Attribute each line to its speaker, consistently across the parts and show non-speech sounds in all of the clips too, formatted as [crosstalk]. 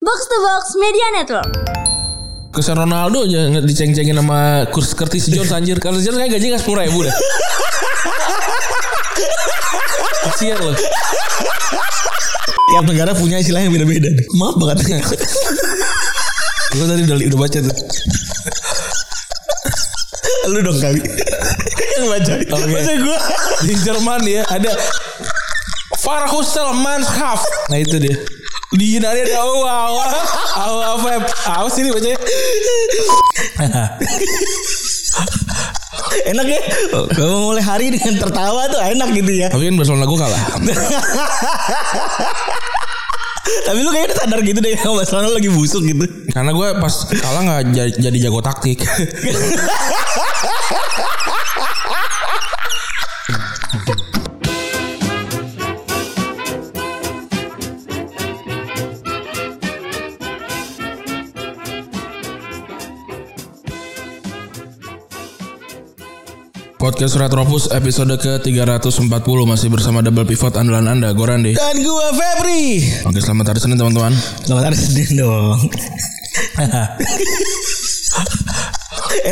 Speaker 1: Box to Box Media Network.
Speaker 2: Cristiano Ronaldo aja nge- diceng-cengin sama Kurs Curtis Jones anjir. Curtis Jones kayak gajinya sepuluh ribu dah. Kasian loh.
Speaker 3: Tiap negara punya istilah yang beda-beda. Maaf banget.
Speaker 2: Gue tadi udah, udah baca tuh.
Speaker 3: Lu dong kali. yang baca.
Speaker 2: Oke.
Speaker 3: Baca gua.
Speaker 2: Di Jerman ya ada Farhusel Mannschaft. Nah itu dia. Di Yunani ada wow wow Feb. Apa sih ini bacanya?
Speaker 3: Enak ya. Kamu mulai hari dengan tertawa tuh enak gitu ya.
Speaker 2: Tapi kan Barcelona gue kalah.
Speaker 3: Tapi lu kayaknya sadar gitu deh kalau Barcelona lagi busuk gitu.
Speaker 2: Karena gue pas kalah nggak jadi, jadi jago taktik. Podcast Retropus episode ke-340 masih bersama Double Pivot andalan Anda, Gorande.
Speaker 3: Dan gua Febri.
Speaker 2: Oke, selamat hari Senin teman-teman.
Speaker 3: Selamat hari Senin dong. [laughs]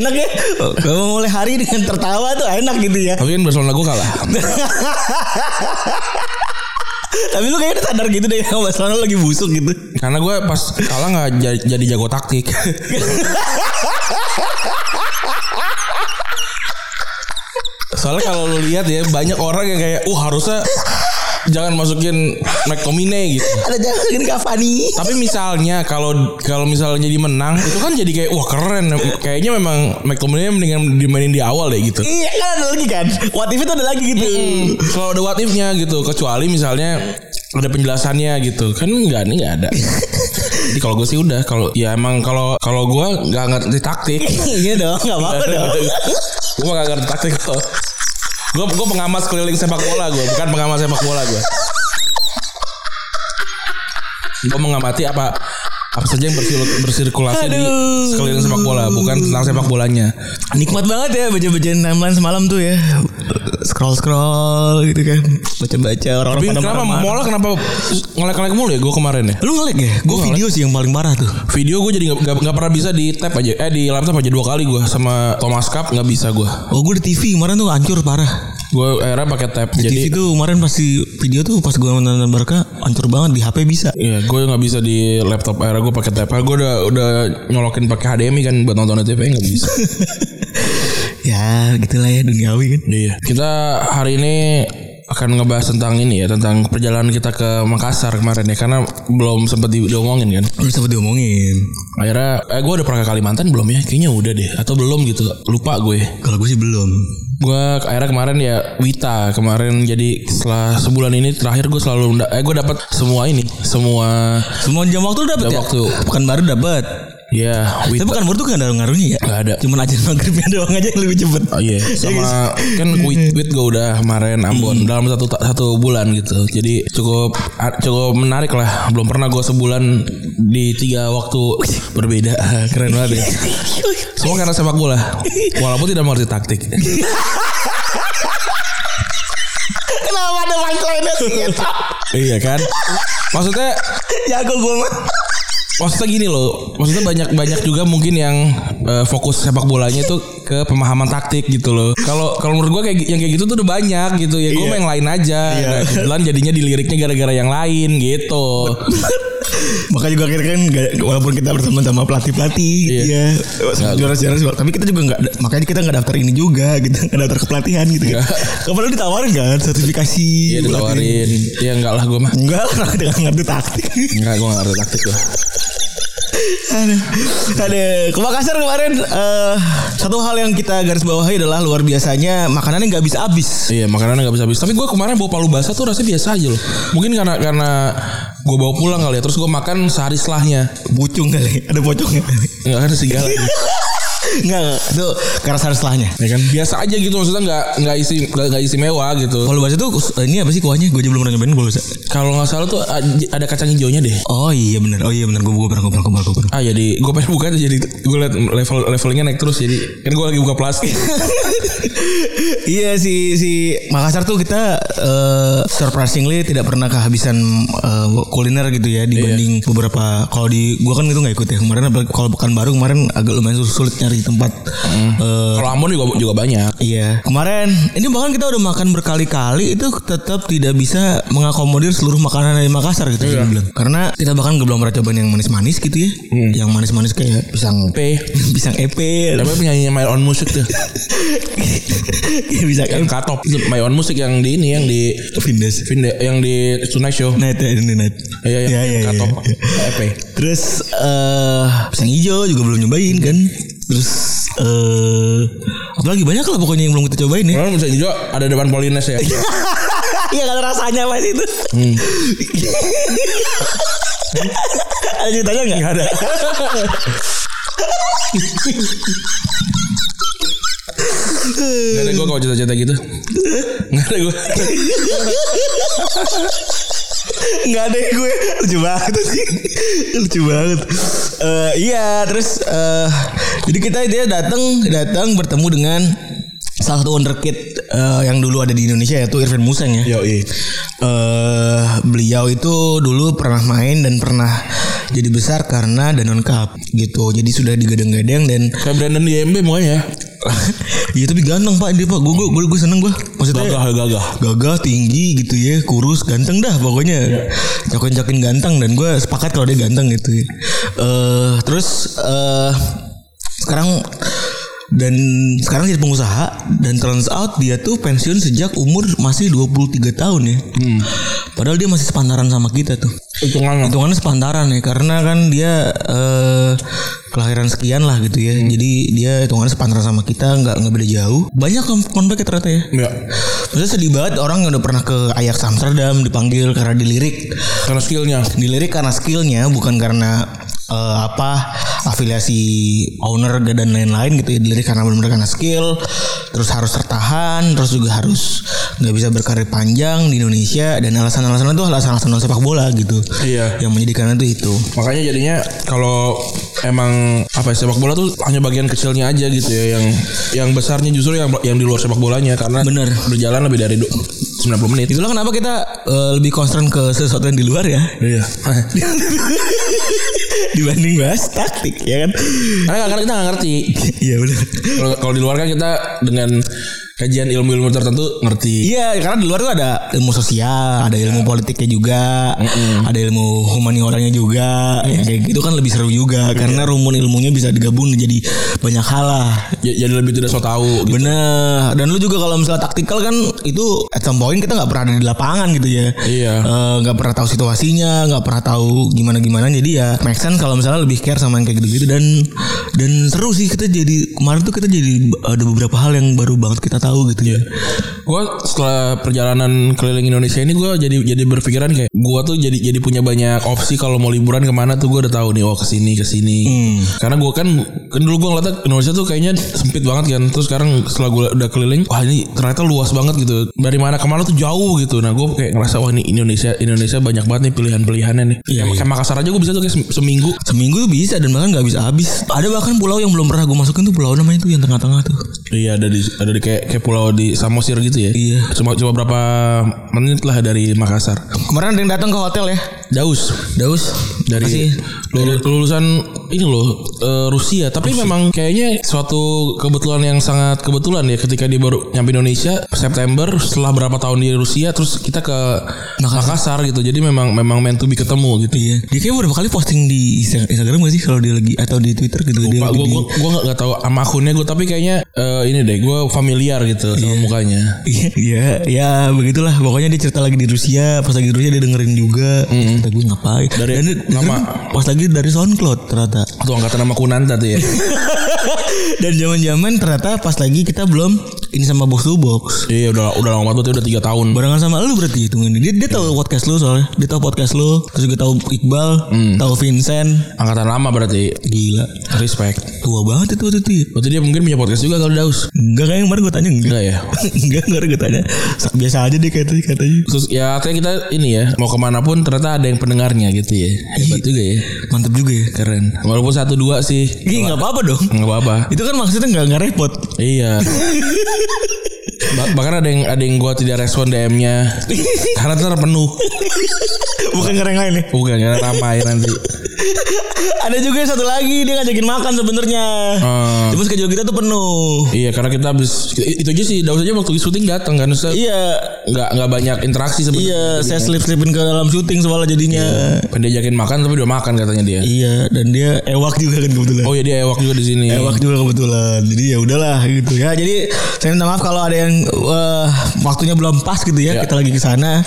Speaker 3: enak ya. Kamu mulai hari dengan tertawa tuh enak gitu ya.
Speaker 2: Tapi kan Barcelona gue kalah.
Speaker 3: Tapi lu kayaknya sadar gitu deh kalau Barcelona lagi busuk gitu.
Speaker 2: Karena gue pas kalah nggak ja- jadi jago taktik. Soalnya kalau lu lihat ya banyak orang yang kayak, uh harusnya jangan masukin McTominay gitu.
Speaker 3: Ada jangan gini Cavani.
Speaker 2: Tapi misalnya kalau kalau misalnya jadi menang itu kan jadi kayak wah keren. Kayaknya memang McTominay mendingan dimainin di awal deh gitu.
Speaker 3: Iya kan ada lagi kan. What if itu ada lagi gitu.
Speaker 2: Kalau ada what if-nya gitu, kecuali misalnya ada penjelasannya gitu. Kan enggak nih enggak ada. Jadi kalau gue sih udah kalau ya emang kalau kalau gue nggak ngerti taktik,
Speaker 3: Iya dong, gak [laughs] apa-apa dong.
Speaker 2: gue nggak ngerti taktik kok. Gue gue pengamat keliling sepak bola gue, bukan pengamat sepak bola gue. Gue mengamati apa apa saja yang bersirkul- bersirkulasi di
Speaker 3: Aduh.
Speaker 2: sekeliling sepak bola, bukan tentang sepak bolanya.
Speaker 3: Nikmat banget ya baca-bacain timeline semalam tuh ya. Scroll-scroll gitu kan. Baca-baca orang-orang
Speaker 2: Tapi
Speaker 3: pada
Speaker 2: kenapa
Speaker 3: marah-marah.
Speaker 2: mola kenapa ngelek-ngelek mulu ya gue kemarin ya?
Speaker 3: Lu ngelag ya? Gue video sih yang paling parah tuh.
Speaker 2: Video gue jadi gak, gak- gak pernah bisa di tap aja Eh di laptop aja dua kali gue Sama Thomas Cup gak bisa gue
Speaker 3: Oh gue di TV kemarin tuh hancur parah.
Speaker 2: Gue akhirnya pakai tap
Speaker 3: TV
Speaker 2: Jadi
Speaker 3: tuh kemarin pasti video tuh pas gue nonton Barca hancur banget di HP bisa. [laughs]
Speaker 2: Iya gue gak bisa di laptop Akhirnya gue pakai tap Gue udah, udah nyolokin pakai HDMI kan Buat nonton TV gak bisa
Speaker 3: ya gitulah ya duniawi kan.
Speaker 2: Iya Kita hari ini akan ngebahas tentang ini ya Tentang perjalanan kita ke Makassar kemarin ya Karena belum sempet di- diomongin kan
Speaker 3: Belum sempat diomongin.
Speaker 2: Akhirnya eh, gue udah pernah ke Kalimantan belum ya Kayaknya udah deh Atau belum gitu Lupa gue
Speaker 3: Kalau gue sih belum.
Speaker 2: gue akhirnya kemarin ya Wita kemarin jadi setelah sebulan ini terakhir gue selalu nda- eh gue dapat semua ini semua
Speaker 3: Semua jam waktu lu dapet
Speaker 2: Jam
Speaker 3: ya?
Speaker 2: waktu.
Speaker 3: Bukan baru dapet.
Speaker 2: ya
Speaker 3: Tapi
Speaker 2: Wita
Speaker 3: bukan baru tuh gak ada ngaruhnya ya?
Speaker 2: Nggak ada.
Speaker 3: Cuman aja maghribnya doang aja yang lebih cepet.
Speaker 2: Oh iya, sama kan wit wit gue udah kemarin Ambon dalam satu ta- satu bulan gitu. Jadi cukup a- cukup menarik lah. Belum pernah gue sebulan di tiga waktu berbeda. [laughs] Keren banget. Ya. Semua karena sepak bola. Walaupun tidak mengerti taktik.
Speaker 3: [laughs] Kenapa ada
Speaker 2: [laughs]
Speaker 3: punchline-nya sih?
Speaker 2: iya kan? Maksudnya
Speaker 3: Jago gue mah.
Speaker 2: Maksudnya gini loh, maksudnya banyak banyak juga mungkin yang eh, fokus sepak bolanya itu ke pemahaman taktik gitu loh. Kalau kalau menurut gue kayak gi- yang kayak gitu tuh udah banyak gitu ya. Gue main lain aja. Nah, kebetulan jadinya diliriknya gara-gara yang lain [laughs] gitu.
Speaker 3: Makanya juga akhirnya kan nggak- walaupun kita berteman sama pelatih-pelatih gitu
Speaker 2: Iya.
Speaker 3: ya. Juara-juara sepak- tapi kita juga nggak makanya kita nggak daftar ini juga gitu, nggak daftar kepelatihan gitu kan. Kemarin ditawarin kan
Speaker 2: Iya
Speaker 3: sertifikasi
Speaker 2: ditawarin. Ya enggak lah gue mah.
Speaker 3: Enggak lah, [laughs] kita nggak ngerti taktik.
Speaker 2: Enggak gue nggak ngerti taktik loh.
Speaker 3: Aduh. Aduh. Ke Makassar kemarin eh, satu hal yang kita garis bawahi adalah luar biasanya makanannya nggak bisa habis.
Speaker 2: Iya makanannya nggak bisa habis. Tapi gue kemarin bawa palu basah tuh rasanya biasa aja loh. Mungkin karena karena gue bawa pulang kali ya. Terus gue makan sehari setelahnya.
Speaker 3: Bucung kali, ada pocongnya.
Speaker 2: [laughs] Enggak ada segala.
Speaker 3: Enggak, enggak. Itu karena harus setelahnya.
Speaker 2: Ya kan biasa aja gitu maksudnya nggak nggak isi nggak nggak istimewa gitu.
Speaker 3: Polubasa itu eh, ini apa sih kuahnya? Gue aja belum pernah nyobain polubasa.
Speaker 2: Kalau nggak salah tuh a- ada kacang hijaunya deh.
Speaker 3: Oh iya benar. Oh iya benar. Gue gue pernah gue pernah gue pernah gue pernah.
Speaker 2: Ah jadi gue pengen buka jadi gue liat level levelnya naik terus jadi kan gue lagi buka
Speaker 3: [laughs]
Speaker 2: plastik.
Speaker 3: iya si si Makassar tuh kita eh, surprisingly tidak pernah kehabisan eh, kuliner gitu ya dibanding beberapa kalau di gua kan itu nggak ikut ya kemarin apalagi kalau Pekanbaru kemarin agak lumayan sul- sulit nyari tempat eh,
Speaker 2: Kalau Ambon juga juga banyak.
Speaker 3: Iya kemarin ini bahkan kita udah makan berkali-kali itu tetap tidak bisa mengakomodir seluruh makanan dari Makassar gitu bisa dibilang. karena kita bahkan belum pernah cobain yang manis-manis gitu ya yang manis-manis kayak pisang
Speaker 2: P.
Speaker 3: [laughs] pisang EP
Speaker 2: Tapi penyanyi My Own Music
Speaker 3: [laughs]
Speaker 2: tuh
Speaker 3: Iya, pisang
Speaker 2: yang
Speaker 3: EP
Speaker 2: katop Itu My Own Music yang di ini yang di
Speaker 3: Vindes
Speaker 2: Vinde, yang di Tonight Show.
Speaker 3: Night ya, ini night.
Speaker 2: Iya iya
Speaker 3: iya, iya,
Speaker 2: katop
Speaker 3: iya.
Speaker 2: EP.
Speaker 3: Terus eh pisang hijau juga belum nyobain kan. Terus eh apa lagi banyak lah pokoknya yang belum kita cobain ya.
Speaker 2: Kalau bisa juga ada depan Polines ya.
Speaker 3: [laughs]
Speaker 2: [laughs]
Speaker 3: Iya kan rasanya pas itu. ada ceritanya nggak? ada.
Speaker 2: Gak ada gue kalau cerita-cerita gitu. Gak ada gue.
Speaker 3: Nggak ada yang gue lucu banget sih. lucu banget. Eh, iya terus eh jadi kita dia datang datang bertemu dengan salah satu wonderkid eh, yang dulu ada di Indonesia yaitu Irfan Museng
Speaker 2: Yo
Speaker 3: ya. eh beliau itu dulu pernah main dan pernah jadi besar karena Danone Cup gitu. Jadi sudah digadang-gadang dan [laughs]
Speaker 2: Kayak Brandon di MB mukanya ya.
Speaker 3: ya tapi ganteng Pak dia Pak. Gue gue gue seneng gue. Maksudnya
Speaker 2: Gagah gagah.
Speaker 3: gagah tinggi gitu ya kurus ganteng dah pokoknya cokin cokin ganteng dan gue sepakat kalau dia ganteng gitu ya. Eh, terus eh sekarang dan sekarang jadi pengusaha dan turns out dia tuh pensiun sejak umur masih 23 tahun ya padahal dia masih sepantaran sama kita tuh
Speaker 2: Hitungan
Speaker 3: hitungannya sepantaran ya karena kan dia eh, kelahiran sekian lah gitu ya jadi dia hitungannya sepantaran sama kita nggak nggak beda jauh banyak konf- konflik ya ternyata ya
Speaker 2: Ya.
Speaker 3: Maksudnya sedih banget orang yang udah pernah ke Ajax Amsterdam dipanggil karena dilirik
Speaker 2: Karena skillnya.
Speaker 3: dilirik karena skillnya bukan karena eh, apa afiliasi owner dan lain-lain gitu ya dilirik karena benar-benar karena skill terus harus tertahan terus juga harus nggak bisa berkarir panjang di Indonesia dan alasan-alasan itu alasan-alasan non sepak bola gitu
Speaker 2: Iya.
Speaker 3: yang menjadikan itu itu
Speaker 2: Makanya jadinya kalau emang apa ya, sepak bola tuh hanya bagian kecilnya aja gitu ya yang yang besarnya justru yang yang di luar sepak bolanya karena
Speaker 3: Bener.
Speaker 2: berjalan lebih dari du- 90 menit.
Speaker 3: itulah kenapa kita eh, lebih concern ke sesuatu yang di luar ya [laughs]
Speaker 2: Iya.
Speaker 3: dibanding bahas taktik ya kan
Speaker 2: [laughs]
Speaker 3: [laughs]
Speaker 2: karena karena kita nggak ngerti.
Speaker 3: iya benar
Speaker 2: Kalau kalau di luar kan kita dengan kajian ilmu-ilmu tertentu ngerti.
Speaker 3: Iya, karena di luar tuh ada ilmu sosial, ada ilmu politiknya juga, ada ilmu humanioranya juga. Ya, kayak gitu kan lebih seru juga karena rumun ilmunya bisa digabung jadi banyak hal lah.
Speaker 2: J- Jadi lebih tidak so tahu. gitu.
Speaker 3: Bener. Dan lu juga kalau misalnya taktikal kan itu at some point kita nggak pernah ada di lapangan gitu ya.
Speaker 2: Iya.
Speaker 3: Eh, Nggak pernah tahu situasinya, nggak pernah tahu gimana gimana. Jadi ya make sense kalau misalnya lebih care sama yang kayak gitu-gitu dan dan seru sih kita jadi kemarin tuh kita jadi ada beberapa hal yang baru banget kita tahu gitu ya.
Speaker 2: Gue setelah perjalanan keliling Indonesia ini gue jadi jadi berpikiran kayak gue tuh jadi jadi punya banyak opsi kalau mau liburan kemana tuh gue udah tahu nih oh kesini kesini karena gue kan kan dulu gue ngeliatnya Indonesia tuh kayaknya sempit banget kan terus sekarang setelah gue udah keliling wah ini ternyata luas banget gitu dari mana kemana tuh jauh gitu nah gue kayak ngerasa wah ini Indonesia Indonesia banyak banget nih pilihan pilihannya nih
Speaker 3: Iya,
Speaker 2: kayak Makassar aja gue bisa tuh kayak sem- seminggu
Speaker 3: Seminggu tuh bisa dan bahkan nggak habis habis. Ada bahkan pulau yang belum pernah gue masukin tuh pulau namanya tuh yang tengah-tengah tuh.
Speaker 2: Iya ada di ada di kayak, kayak pulau di Samosir gitu ya.
Speaker 3: Iya.
Speaker 2: Cuma cuma berapa menit lah dari Makassar.
Speaker 3: Kemarin ada yang datang ke hotel ya.
Speaker 2: Daus
Speaker 3: Daus
Speaker 2: dari
Speaker 3: Masih.
Speaker 2: lulu- lulusan ini loh eh, Rusia tapi memang kayaknya suatu kebetulan yang sangat kebetulan ya ketika dia baru nyampe Indonesia September setelah berapa tahun di Rusia terus kita ke Makassar, gitu jadi memang memang meant to be ketemu gitu
Speaker 3: Iya. Dia kayaknya berapa kali posting di Insta- Instagram gak sih kalau dia lagi atau di Twitter gitu dia
Speaker 2: Pak,
Speaker 3: lagi
Speaker 2: gue
Speaker 3: di-
Speaker 2: gue gue nggak nggak tahu sama akunnya gue tapi kayaknya eh, ini deh gue familiar gitu sama mukanya
Speaker 3: Iya, iya, ya begitulah. Pokoknya dia cerita lagi di Rusia, pas lagi di Rusia dia dengerin juga. Cerita gue ngapain?
Speaker 2: Dari-
Speaker 3: Dan dia-
Speaker 2: nama-
Speaker 3: pas lagi dari SoundCloud ternyata. [laughs]
Speaker 2: tuh angkatan nama Kunanta tuh ya
Speaker 3: Dan zaman-zaman ternyata pas lagi kita belum ini sama box to box.
Speaker 2: Iya udah udah lama banget berarti udah tiga tahun.
Speaker 3: Barengan sama lu berarti hitungannya. Dia dia tahu podcast lu soalnya. Dia tahu podcast lu, terus juga tahu Iqbal, tahu Vincent.
Speaker 2: Angkatan lama berarti.
Speaker 3: Gila,
Speaker 2: Respect.
Speaker 3: tua banget itu waktu itu. ya.
Speaker 2: Berarti dia mungkin punya podcast juga kalau Daus.
Speaker 3: Enggak kayak yang kemarin gue tanya enggak.
Speaker 2: Enggak ya.
Speaker 3: enggak kemarin gue tanya. Sak- Biasa aja deh katanya katanya.
Speaker 2: Terus ya artinya kita ini ya mau kemana pun ternyata ada yang pendengarnya gitu ya. Hebat juga ya.
Speaker 3: Mantep juga ya.
Speaker 2: Keren. Walaupun satu dua sih
Speaker 3: Iya enggak apa-apa dong.
Speaker 2: nggak apa-apa.
Speaker 3: Itu kan maksudnya enggak enggak [laughs] repot.
Speaker 2: Iya. Bah- bahkan ada yang ada yang gua tidak respon DM-nya karena ntar penuh
Speaker 3: Bukan karena yang lain ya.
Speaker 2: bukan karena ramai nanti
Speaker 3: Ada juga satu lagi dia ngajakin makan sebenarnya. Ah.
Speaker 2: Eh,
Speaker 3: Cuma schedule kita tuh penuh.
Speaker 2: iya karena kita habis itu aja sih Daus aja waktu syuting datang kan Ustaz.
Speaker 3: Iya,
Speaker 2: nggak nggak banyak interaksi sebenarnya
Speaker 3: iya, saya slip-slipin ke dalam syuting soalnya jadinya.
Speaker 2: Pengen diajakin makan tapi udah makan katanya dia
Speaker 3: Iya, dan dia ewak juga kan kebetulan.
Speaker 2: oh ya dia ewak juga di sini
Speaker 3: Ewak juga kebetulan. Jadi ya udahlah gitu ya. Jadi saya minta maaf kalau ada yang eh, waktunya belum pas gitu
Speaker 2: Ya.
Speaker 3: ya. Kita lagi ke sana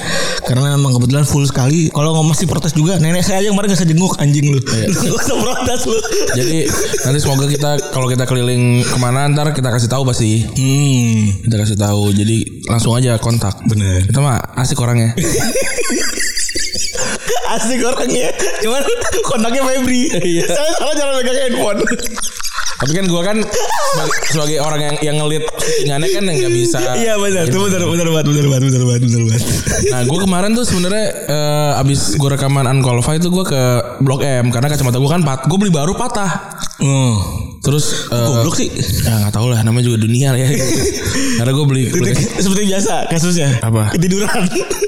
Speaker 3: karena memang kebetulan full sekali. Kalau nggak masih protes juga. Nenek saya aja kemarin nggak saya jenguk anjing lu. Lu [laughs] nggak usah protes lu.
Speaker 2: jadi nanti semoga kita kalau kita keliling kemana ntar kita kasih tahu pasti
Speaker 3: Hmm,
Speaker 2: kita kasih tahu jadi langsung aja kontak
Speaker 3: bener.
Speaker 2: kita mah asik orangnya
Speaker 3: [laughs] Asik orangnya. Cuman kontaknya Febri.
Speaker 2: Iya.
Speaker 3: Saya salah cara megang handphone.
Speaker 2: tapi kan gua kan sebagai, sebagai orang yang yang ngelit syutingannya kan yang nggak bisa
Speaker 3: Iya benar, itu benar, benar banget, benar banget, benar banget, benar [laughs] banget.
Speaker 2: Nah gue kemarin tuh sebenarnya eh, abis gue rekaman Unqualified itu gue ke Blok M karena kacamata gue kan pat, gue beli baru patah.
Speaker 3: Hmm.
Speaker 2: Terus eh,
Speaker 3: Goblok sih.
Speaker 2: Ya nggak tau lah namanya juga dunia
Speaker 3: [laughs]
Speaker 2: ya. Karena gue beli, beli
Speaker 3: Seperti biasa kasusnya.
Speaker 2: Apa?
Speaker 3: Ketiduran.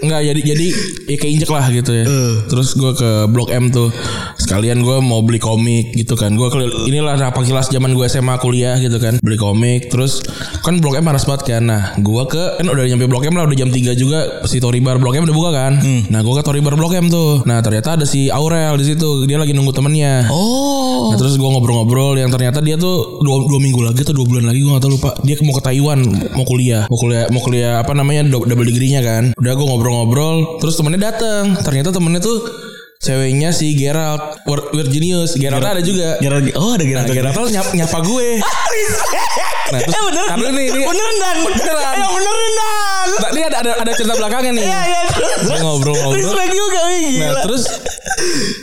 Speaker 2: nggak jadi jadi ya keinjek lah gitu ya.
Speaker 3: Eh.
Speaker 2: Terus gue ke Blok M tuh sekalian gue mau beli komik gitu kan. Gue kelil- inilah rapat kelas zaman gue SMA kuliah gitu kan. Beli komik terus kan Blok M panas banget kan. Nah gue ke kan udah nyampe Blok M lah udah jam 3 juga si Toribar Blok M udah buka kan. Nah gue ke Toribar Blok M tuh. Nah ternyata ada si Aurel di situ dia lagi nunggu temennya.
Speaker 3: Oh.
Speaker 2: Nah, terus gue ngobrol-ngobrol yang ternyata dia tuh dua, dua minggu lagi atau dua bulan lagi gue gak tau lupa dia mau ke Taiwan mau kuliah mau kuliah mau kuliah apa namanya do- double degree-nya kan udah gue ngobrol-ngobrol terus temennya datang ternyata temennya tuh ceweknya si Gerald Weird, Weird Genius Gerald ada juga
Speaker 3: Gerald, oh ada Gerald.
Speaker 2: Nah, Gerald tuh nyap- nyapa
Speaker 3: [laughs]
Speaker 2: gue nah, terus,
Speaker 3: eh beneran
Speaker 2: tar dulu nih, ini-
Speaker 3: beneran dan
Speaker 2: Beneran.
Speaker 3: eh beneran dan Iya,
Speaker 2: Nah, ini ada, ada ada cerita belakangnya nih
Speaker 3: ya ya terus
Speaker 2: Dia ngobrol-ngobrol
Speaker 3: respect juga iya. wih,
Speaker 2: Nah
Speaker 3: gila
Speaker 2: terus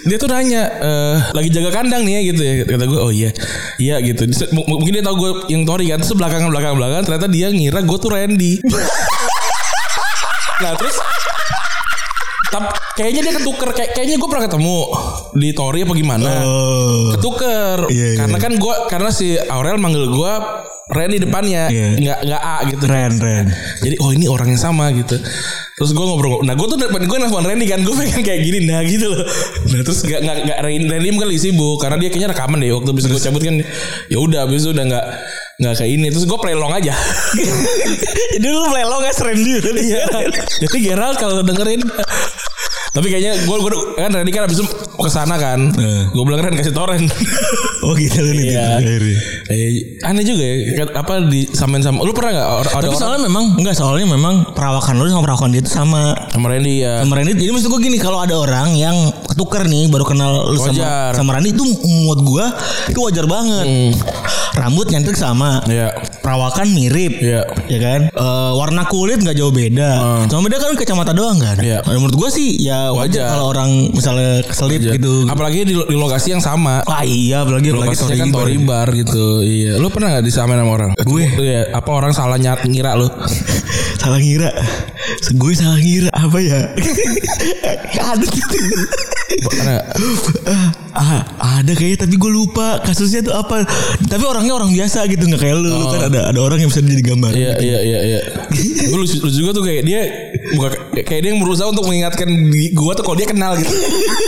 Speaker 2: dia tuh nanya eh lagi jaga kandang nih ya gitu ya kata gue oh iya iya gitu Terus m- m- mungkin dia tahu gue yang Tori kan terus belakang belakang belakang ternyata dia ngira gue tuh Randy [laughs] nah terus tap, kayaknya dia ketuker kayak, kayaknya gue pernah ketemu di Tori apa gimana
Speaker 3: oh
Speaker 2: ketuker
Speaker 3: Iya, iya.
Speaker 2: karena kan gue karena si Aurel manggil gue Randy depannya
Speaker 3: Iya.
Speaker 2: nggak nggak A gitu
Speaker 3: Ren Ren
Speaker 2: jadi oh ini orang yang sama gitu terus gue ngobrol nah gue tuh gue nelfon Randy kan gue pengen kayak gini nah gitu loh nah terus gak gak gak Randy, Randy mungkin lagi sibuk karena dia kayaknya rekaman deh waktu bisa gue cabut kan ya udah abis itu udah nggak nggak kayak ini terus gue play long
Speaker 3: [laughs]
Speaker 2: aja
Speaker 3: dulu lelo nggak seren dia
Speaker 2: [laughs] iya jadi Gerald kalau dengerin tapi kayaknya gue gue kan Randy kan abis itu mau kesana kan
Speaker 3: Eh.
Speaker 2: gue bilang Ren kasih toren
Speaker 3: [laughs] oh gitu kan ini
Speaker 2: Iya. eh, aneh juga ya kan- apa disamain sama lu pernah nggak or- ada
Speaker 3: tapi
Speaker 2: orang
Speaker 3: soalnya memang enggak soalnya memang perawakan lu sama perawakan dia itu sama
Speaker 2: sama Randy ya
Speaker 3: sama Randy jadi maksud gue gini kalau ada orang yang ketukar nih baru kenal lu sama
Speaker 2: Wajar.
Speaker 3: sama Randy itu menurut gue itu wajar banget rambut nyentik sama
Speaker 2: ya
Speaker 3: perawakan mirip
Speaker 2: ya
Speaker 3: ya kan Eh, warna kulit nggak jauh beda cuma beda kan kacamata doang kan
Speaker 2: Ah. Iya.
Speaker 3: Nah, menurut gua sih ya
Speaker 2: Wajar.
Speaker 3: wajar, kalau orang misalnya keselip gitu
Speaker 2: Iya. apalagi di, di lokasi yang sama
Speaker 3: ah iya apalagi apalagi
Speaker 2: Lokasinya kan
Speaker 3: Toribar.
Speaker 2: Tori Bar gitu. Iya. Lu pernah gak disamain sama orang?
Speaker 3: Gue?
Speaker 2: Iya. Apa orang salah nyat ngira lu?
Speaker 3: salah ngira Se- gue salah ngira apa ya [laughs] ada gitu
Speaker 2: Pernah nggak?
Speaker 3: ah, ada kayaknya tapi gue lupa kasusnya tuh apa tapi orangnya orang biasa gitu nggak kayak lu, Lu kan ada ada orang yang bisa jadi gambar
Speaker 2: Oh. Iya iya iya iya. Gue lucu, lucu juga tuh kayak dia buka, kayak dia yang berusaha untuk mengingatkan di- gua tuh kalau dia kenal gitu.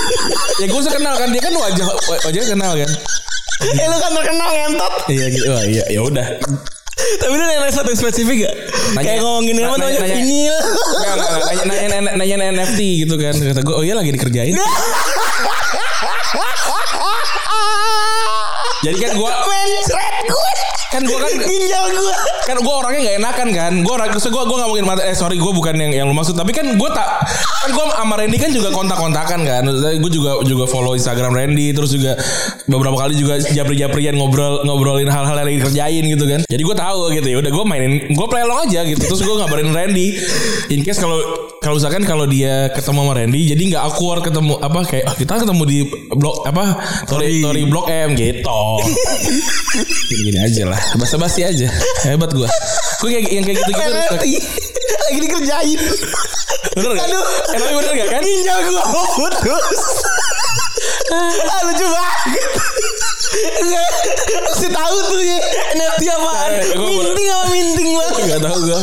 Speaker 2: [laughs] ya gue kenal kan dia kan wajah wajahnya kenal kan.
Speaker 3: [laughs] eh lu kan terkenal ngentot
Speaker 2: Iya gitu. Wah, iya ya udah.
Speaker 3: tapi lu nanya satu yang spesifik gak
Speaker 2: Nanya-
Speaker 3: kayak ngomongin
Speaker 2: nanya-
Speaker 3: apa namanya
Speaker 2: nanya-
Speaker 3: vinil
Speaker 2: Nggak, nggak, nggak. Nanya, nanya, nanya, nanya NFT gitu kan kata
Speaker 3: [laughs]
Speaker 2: gue oh iya lagi dikerjain Jadi kan gua
Speaker 3: mencret gue
Speaker 2: kan gua kan
Speaker 3: ginjal gue
Speaker 2: kan gue orangnya nggak enakan kan gue orang gue gue nggak mungkin mata eh sorry gue bukan yang yang lu maksud tapi kan gue tak kan gue sama Randy kan juga kontak kontakan kan gue juga juga follow Instagram Randy terus juga beberapa kali juga japri japrian ngobrol ngobrolin hal-hal yang lagi kerjain gitu kan jadi gue tahu gitu ya udah gue mainin gue play along aja gitu terus gue ngabarin Randy in case kalau kalau misalkan kalau dia ketemu sama Randy jadi nggak awkward ketemu apa kayak "Ah, kita ketemu di blog apa story story blog M gitu gini, gini aja lah basa-basi aja hebat gua gua kayak yang kayak gitu gitu
Speaker 3: penalti lagi dikerjain
Speaker 2: bener gak?
Speaker 3: Aduh. Iya,
Speaker 2: eh tapi bener gak kan
Speaker 3: ginjal gue mau putus ah, lucu banget Nggak, Mesti tahu tuh ya NFT apaan
Speaker 2: Eh, gua-
Speaker 3: Minting sama minting banget
Speaker 2: Gak tau gua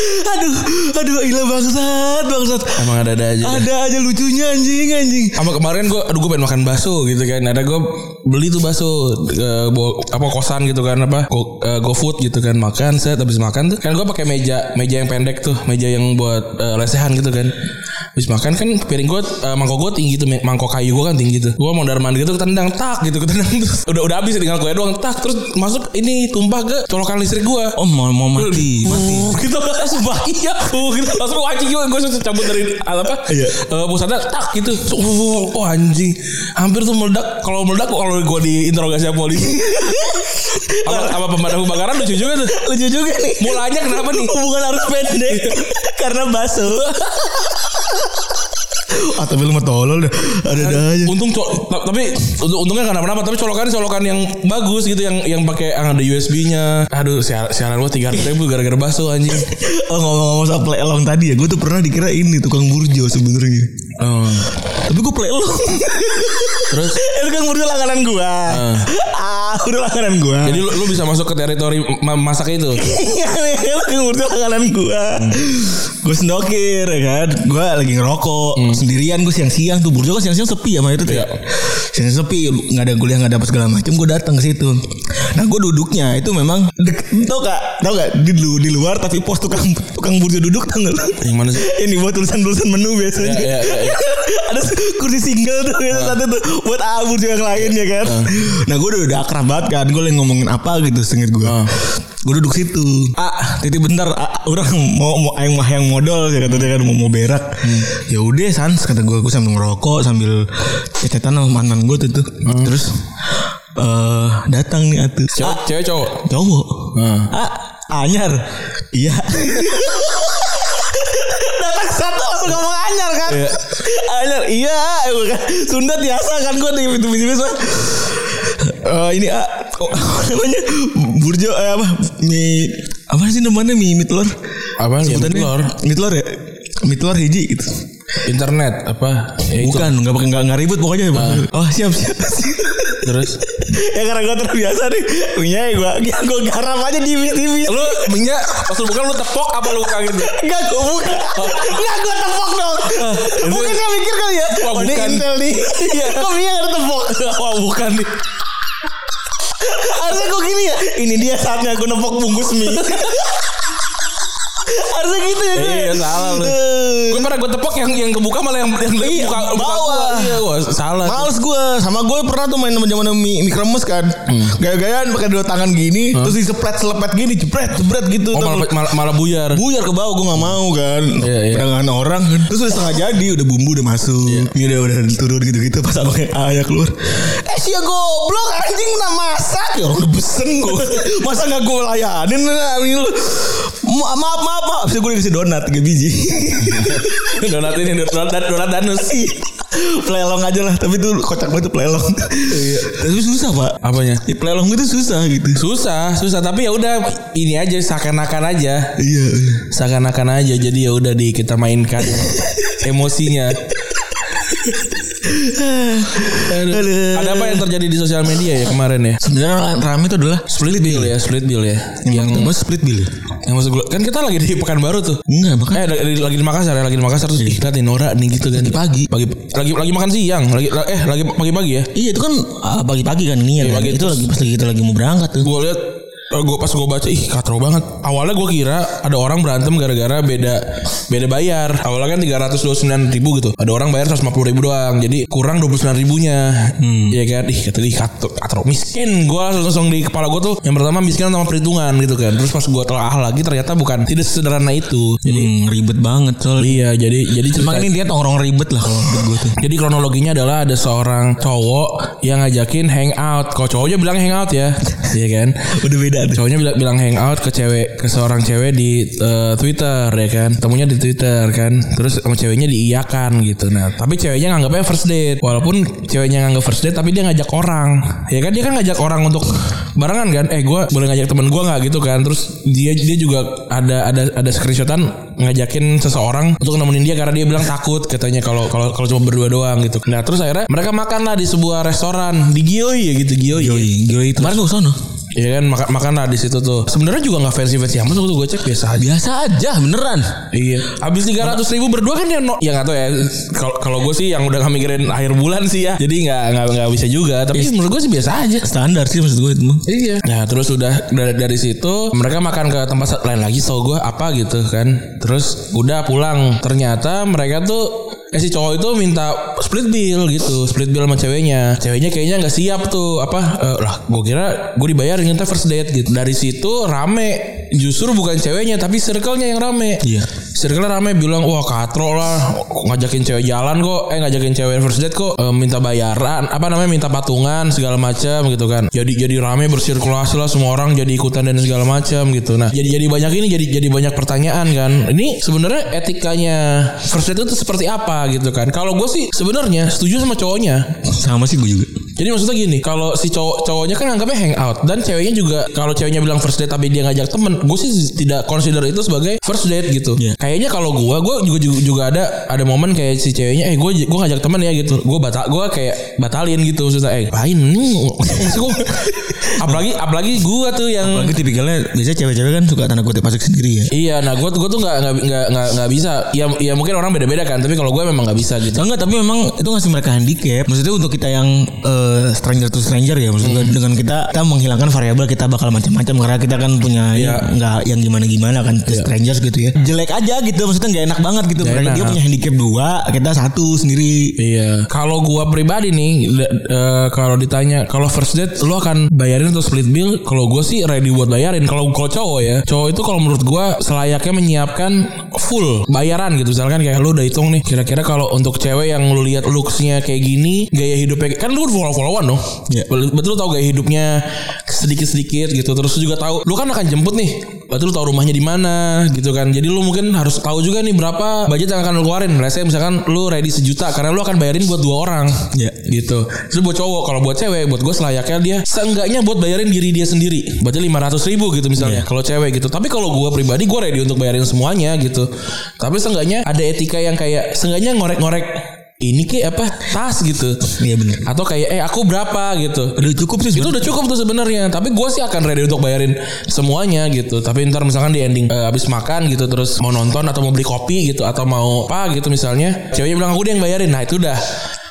Speaker 3: Aduh Aduh gila bangsat Bangsat
Speaker 2: Emang ada-ada aja dah.
Speaker 3: Ada aja lucunya anjing anjing
Speaker 2: Sama kemarin gue Aduh gue pengen makan bakso gitu kan Ada gue Beli tuh bakso eh, bawa- Apa kosan gitu kan Apa Go, eh, GoFood gitu kan Makan set Habis makan tuh Kan gue pakai meja Meja yang pendek tuh Meja yang buat eh, lesehan gitu kan Habis makan kan Piring gue Mangkok gue tinggi tuh Mangkok kayu gue kan tinggi tuh Gue mau dar mandi gitu Ketendang tak gitu Ketendang terus [laughs] Udah udah habis tinggal gue doang Tak terus masuk Ini tumpah ke Colokan listrik gue
Speaker 3: Oh mau, mau mati
Speaker 2: mati gitu langsung iya uh, gitu langsung anjing gue gue langsung cabut dari al- apa
Speaker 3: Iya.
Speaker 2: Eh, pusatnya tak gitu uh, oh anjing hampir tuh meledak kalau meledak kalau gue diinterogasi sama
Speaker 3: [laughs]
Speaker 2: polisi apa, apa pemadam kebakaran lucu juga tuh
Speaker 3: Lucu juga nih
Speaker 2: mulanya kenapa nih
Speaker 3: Hubungan harus
Speaker 2: [laughs]
Speaker 3: pendek Karena baso Ah tapi lu mah tolol dah Ada ada aja
Speaker 2: Untung col- ta- tapi untung- untungnya nggak kenapa-napa tapi colokan colokan yang bagus gitu yang yang pakai yang ada USB-nya. Aduh siaran, siaran gua 300 ribu gara-gara bakso anjing.
Speaker 3: Oh ngomong-ngomong soal play along tadi ya Gue tuh pernah dikira ini tukang burjo sebenarnya
Speaker 2: Oh.
Speaker 3: Tapi gue play [laughs] along
Speaker 2: Terus
Speaker 3: Eh tukang burjo langganan gue Ah udah langganan gue
Speaker 2: jadi lu, lu bisa masuk ke teritori ma- masak itu.
Speaker 3: Iya, [laughs] tukang burjo langganan gue Gue sendokir ya kan Gue lagi ngerokok Sendirian gue siang-siang tuh Burjo kan siang-siang sepi ya mah itu tuh ya
Speaker 2: Hmm. Iya.
Speaker 3: Siang sepi nggak ada kuliah nggak ada apa segala macam Gue datang ke situ Nah gue duduknya itu memang dek, Tau gak Tau gak di, lu- di luar tapi pos tukang tukang burjo duduk tau gak lu? [laughs]
Speaker 2: Yang mana sih?
Speaker 3: Ini buat tulisan-tulisan menu biasanya.
Speaker 2: Iya, iya, iya.
Speaker 3: Ada kursi single tuh biasa satu tuh buat abur juga yang lain ya kan. Ah. Nah gue udah, udah akrab banget kan. Gue lagi ngomongin apa gitu sengit gue.
Speaker 2: Ah.
Speaker 3: Gue duduk situ. Ah, titip bentar. Ah, orang mau mau yang mah yang modal ya kata dia kan mau mau berak. Ya udah sans kata gue gue sambil ngerokok sambil cetetan sama mantan gue tuh tuh. Terus eh datang nih atuh.
Speaker 2: Cewek,
Speaker 3: Ah,
Speaker 2: cewek cowok.
Speaker 3: cowok.
Speaker 2: Hmm.
Speaker 3: Ah, anyar. [laughs] Iya. Datang Nah, kan satu langsung ngomong anyar kan.
Speaker 2: Iya.
Speaker 3: Anyar, iya. Gua kan Sunda biasa kan gue di pintu pintu biasa. Eh, ini ah, oh, apa namanya burjo eh, apa mie apa sih namanya mie mie telur
Speaker 2: Apa ya,
Speaker 3: Sebutannya?
Speaker 2: telur?
Speaker 3: mie telur ya mie telur hiji gitu
Speaker 2: Internet apa? Ya, itu.
Speaker 3: bukan nggak pakai nggak nggak ribut pokoknya oh siap siap, [laughs] siap.
Speaker 2: Terus
Speaker 3: ya karena gue terbiasa nih Iya, punya gue gue garam aja di tipis
Speaker 2: lu minyak pas lu bukan lu tepok apa lu gitu? kaget?
Speaker 3: Enggak gue buka Enggak gue tepok dong Mungkin dia mikir kali ya
Speaker 2: Wah,
Speaker 3: Oh ini
Speaker 2: bukan.
Speaker 3: intel nih Iya Kok dia gak ada tepok
Speaker 2: [laughs] Wah bukan nih.
Speaker 3: Harusnya gue gini ya Ini dia saatnya gue nepok bungkus mie [laughs] Harusnya gitu ya gue
Speaker 2: Iya salah lu.
Speaker 3: Eh,
Speaker 2: Gue pernah gue tepok yang yang kebuka malah yang yang
Speaker 3: Iya,
Speaker 2: buka buka
Speaker 3: bawah.
Speaker 2: gua. Iya, wah, salah.
Speaker 3: Males gue Sama gue pernah tuh main zaman mie, mie kremes kan
Speaker 2: Hmm.
Speaker 3: Gaya-gayaan pakai dua tangan gini Terus diselepet-selepet gini Jebret jebret gitu
Speaker 2: Oh
Speaker 3: Tuh,
Speaker 2: malah, malah, malah buyar.
Speaker 3: buyar ke bawah gue nggak mau kan
Speaker 2: Iya, iya.
Speaker 3: Pedangan orang kan terus udah setengah jadi udah bumbu udah masuk ini udah udah turun gitu gitu pas abangnya ayah keluar eh sia goblok anjing udah masak ya udah pesen gue masa nggak gue layanin nah, ini lu. Ma- maaf maaf maaf sih gue dikasih donat tiga [laughs] biji
Speaker 2: donat ini donat donat danus.
Speaker 3: pelelong Iya. aja lah tapi tuh kocak banget tuh pelelong tapi susah pak
Speaker 2: Apanya?
Speaker 3: ya, pelelong itu susah gitu
Speaker 2: Susah, susah tapi ya udah ini aja seakan-akan aja.
Speaker 3: iya iya.
Speaker 2: Seakan-akan aja jadi ya udah di kita mainkan emosinya.
Speaker 3: Aduh.
Speaker 2: Ada apa yang terjadi di sosial media ya kemarin ya?
Speaker 3: sebenarnya rame itu adalah
Speaker 2: Split bill ya, split bill ya.
Speaker 3: yang pertama split bill ya?
Speaker 2: Yang masuk gula- kan kita lagi di Pekanbaru tuh.
Speaker 3: enggak makanya
Speaker 2: Eh lagi, lagi di Makassar ya, lagi di Makassar terus ih lihat nih Nora nih gitu kan.
Speaker 3: Iya. Pagi-pagi.
Speaker 2: Pagi lagi lagi makan siang, lagi eh lagi pagi-pagi ya.
Speaker 3: Iya itu kan ah, pagi-pagi kan ini ya.
Speaker 2: Iya,
Speaker 3: kan?
Speaker 2: pagi
Speaker 3: itu lagi pas lagi kita lagi mau berangkat tuh.
Speaker 2: Gue lihat eh, gua pas gue baca ih katro banget. Awalnya gue kira ada orang berantem gara-gara beda beda bayar. Awalnya kan 329 ribu gitu. Ada orang bayar 150 ribu doang. Jadi kurang 29 ribunya. Iya kan? Ih kata ih katro, katro miskin. Gue langsung, langsung di kepala gue tuh yang pertama miskin sama perhitungan gitu kan. Terus pas gue telah lagi ternyata bukan tidak sederhana itu. Jadi
Speaker 3: Hmm, ribet banget soalnya.
Speaker 2: iya jadi jadi cerita-
Speaker 3: Emang ini dia nongkrong ribet lah kalau menurut gue tuh.
Speaker 2: jadi kronologinya adalah ada seorang cowok yang ngajakin hangout. Kalau cowoknya bilang hangout ya, iya kan?
Speaker 3: Udah beda tuh.
Speaker 2: Cowoknya bilang, bilang hangout ke cewek, ke seorang cewek di eh, Twitter ya kan? Temunya di Twitter kan? Terus sama ceweknya diiyakan gitu. Nah, tapi ceweknya nganggapnya first date. Walaupun ceweknya nganggap first date, tapi dia ngajak orang. Ya kan? Dia kan ngajak orang untuk barengan kan? Eh, gue boleh ngajak temen gue nggak gitu kan? Terus dia dia juga ada ada ada screenshotan ngajakin seseorang untuk nemenin dia karena dia bilang takut katanya kalau kalau kalau cuma berdua doang gitu. Nah, terus akhirnya mereka makan lah di sebuah restoran di Gioi ya gitu Gioi. ya.
Speaker 3: Yoi, yoi itu. Kemarin gue sono.
Speaker 2: Iya kan makan makan lah di situ tuh. Sebenarnya juga nggak fancy fancy amat waktu gue cek biasa aja.
Speaker 3: Biasa aja beneran.
Speaker 2: Iya. Habis tiga ratus ribu berdua kan ya no. Ya nggak tahu ya. Kalau kalau gue sih yang udah nggak mikirin akhir bulan sih ya. Jadi nggak nggak nggak bisa juga. Tapi menurut gue sih biasa aja.
Speaker 3: Standar sih maksud gue itu. mah.
Speaker 2: Iya. Nah terus udah dari, dari situ mereka makan ke tempat sa- lain lagi so gue apa gitu kan. Terus udah pulang. Ternyata mereka tuh eh si cowok itu minta split bill gitu split bill sama ceweknya ceweknya kayaknya nggak siap tuh apa eh, lah gue kira gue dibayar ternyata first date gitu dari situ rame justru bukan ceweknya tapi circle-nya yang rame
Speaker 3: Iya.
Speaker 2: circle rame bilang wah katro lah ngajakin cewek jalan kok eh ngajakin cewek first date kok eh, minta bayaran apa namanya minta patungan segala macam gitu kan jadi jadi rame bersirkulasi lah semua orang jadi ikutan dan segala macam gitu nah jadi jadi banyak ini jadi jadi banyak pertanyaan kan ini sebenarnya etikanya first date itu seperti apa gitu kan kalau gue sih sebenarnya setuju sama cowoknya
Speaker 3: Sama sih gue juga.
Speaker 2: jadi maksudnya gini, kalau si cowok cowoknya kan anggapnya hangout dan ceweknya juga kalau ceweknya bilang first date tapi dia ngajak temen, gue sih tidak consider itu sebagai first date gitu.
Speaker 3: Iya.
Speaker 2: Kayaknya kalau gue, gue juga, juga juga ada ada momen kayak si ceweknya, eh gue gue ngajak temen ya gitu, gue batal, gue kayak batalin gitu maksudnya, eh lain nih, [laughs] Maksud gua, apalagi apalagi gue tuh yang
Speaker 3: Apalagi tipikalnya biasanya cewek-cewek kan suka tanda kutip masuk sendiri ya.
Speaker 2: Iya, nah gue gue tuh nggak nggak nggak nggak nggak bisa. Ya ya mungkin orang beda-beda kan, tapi kalau gue memang nggak bisa gitu.
Speaker 3: Oh, enggak tapi memang itu ngasih mereka handicap. Maksudnya untuk kita yang eh, stranger to stranger ya, maksudnya
Speaker 2: Hmm.
Speaker 3: dengan kita kita menghilangkan variabel kita bakal macam-macam karena kita kan
Speaker 2: Iya.
Speaker 3: punya
Speaker 2: Hmm.
Speaker 3: yang enggak yang gimana-gimana kan to strangers gitu ya. Jelek aja gitu maksudnya nggak enak banget gitu.
Speaker 2: Nggak
Speaker 3: Mereka
Speaker 2: enak.
Speaker 3: dia punya handicap dua, kita satu sendiri.
Speaker 2: Iya. Kalau gua pribadi nih, da- eh, kalau ditanya kalau first date lu akan bayarin atau split bill? Kalau gua sih ready buat bayarin. Kalau kalau cowok ya, cowok itu kalau menurut gua selayaknya menyiapkan full bayaran gitu. Misalkan kayak lu udah hitung nih, kira-kira kalau untuk cewek yang lu lihat looksnya kayak gini, gaya hidupnya kan lu follow followan dong.
Speaker 3: Iya.
Speaker 2: Betul betul lu tahu gaya hidupnya sedikit-sedikit gitu. Terus lu juga tahu lu kan akan jemput nih. Berarti lu tahu rumahnya di mana gitu kan. Jadi lu mungkin harus tahu juga nih berapa budget yang akan lu keluarin. Let's say misalkan lu ready sejuta karena lu akan bayarin buat dua orang.
Speaker 3: Iya.
Speaker 2: Gitu. Terus buat cowok kalau buat cewek buat gue selayaknya dia seenggaknya buat bayarin diri dia sendiri. Berarti 500 ribu gitu misalnya kalau cewek gitu. Tapi kalau gue pribadi gue ready untuk bayarin semuanya gitu. Tapi seenggaknya ada etika yang kayak seenggaknya ngorek-ngorek ini kayak apa tas gitu
Speaker 3: Iya benar.
Speaker 2: atau kayak eh aku berapa gitu
Speaker 3: Udah cukup sih
Speaker 2: itu
Speaker 3: sebenarnya.
Speaker 2: udah cukup tuh sebenarnya tapi gue sih akan ready untuk bayarin semuanya gitu tapi ntar misalkan di ending eh, abis makan gitu terus mau nonton atau mau beli kopi gitu atau mau apa gitu misalnya ceweknya bilang aku dia yang bayarin nah itu udah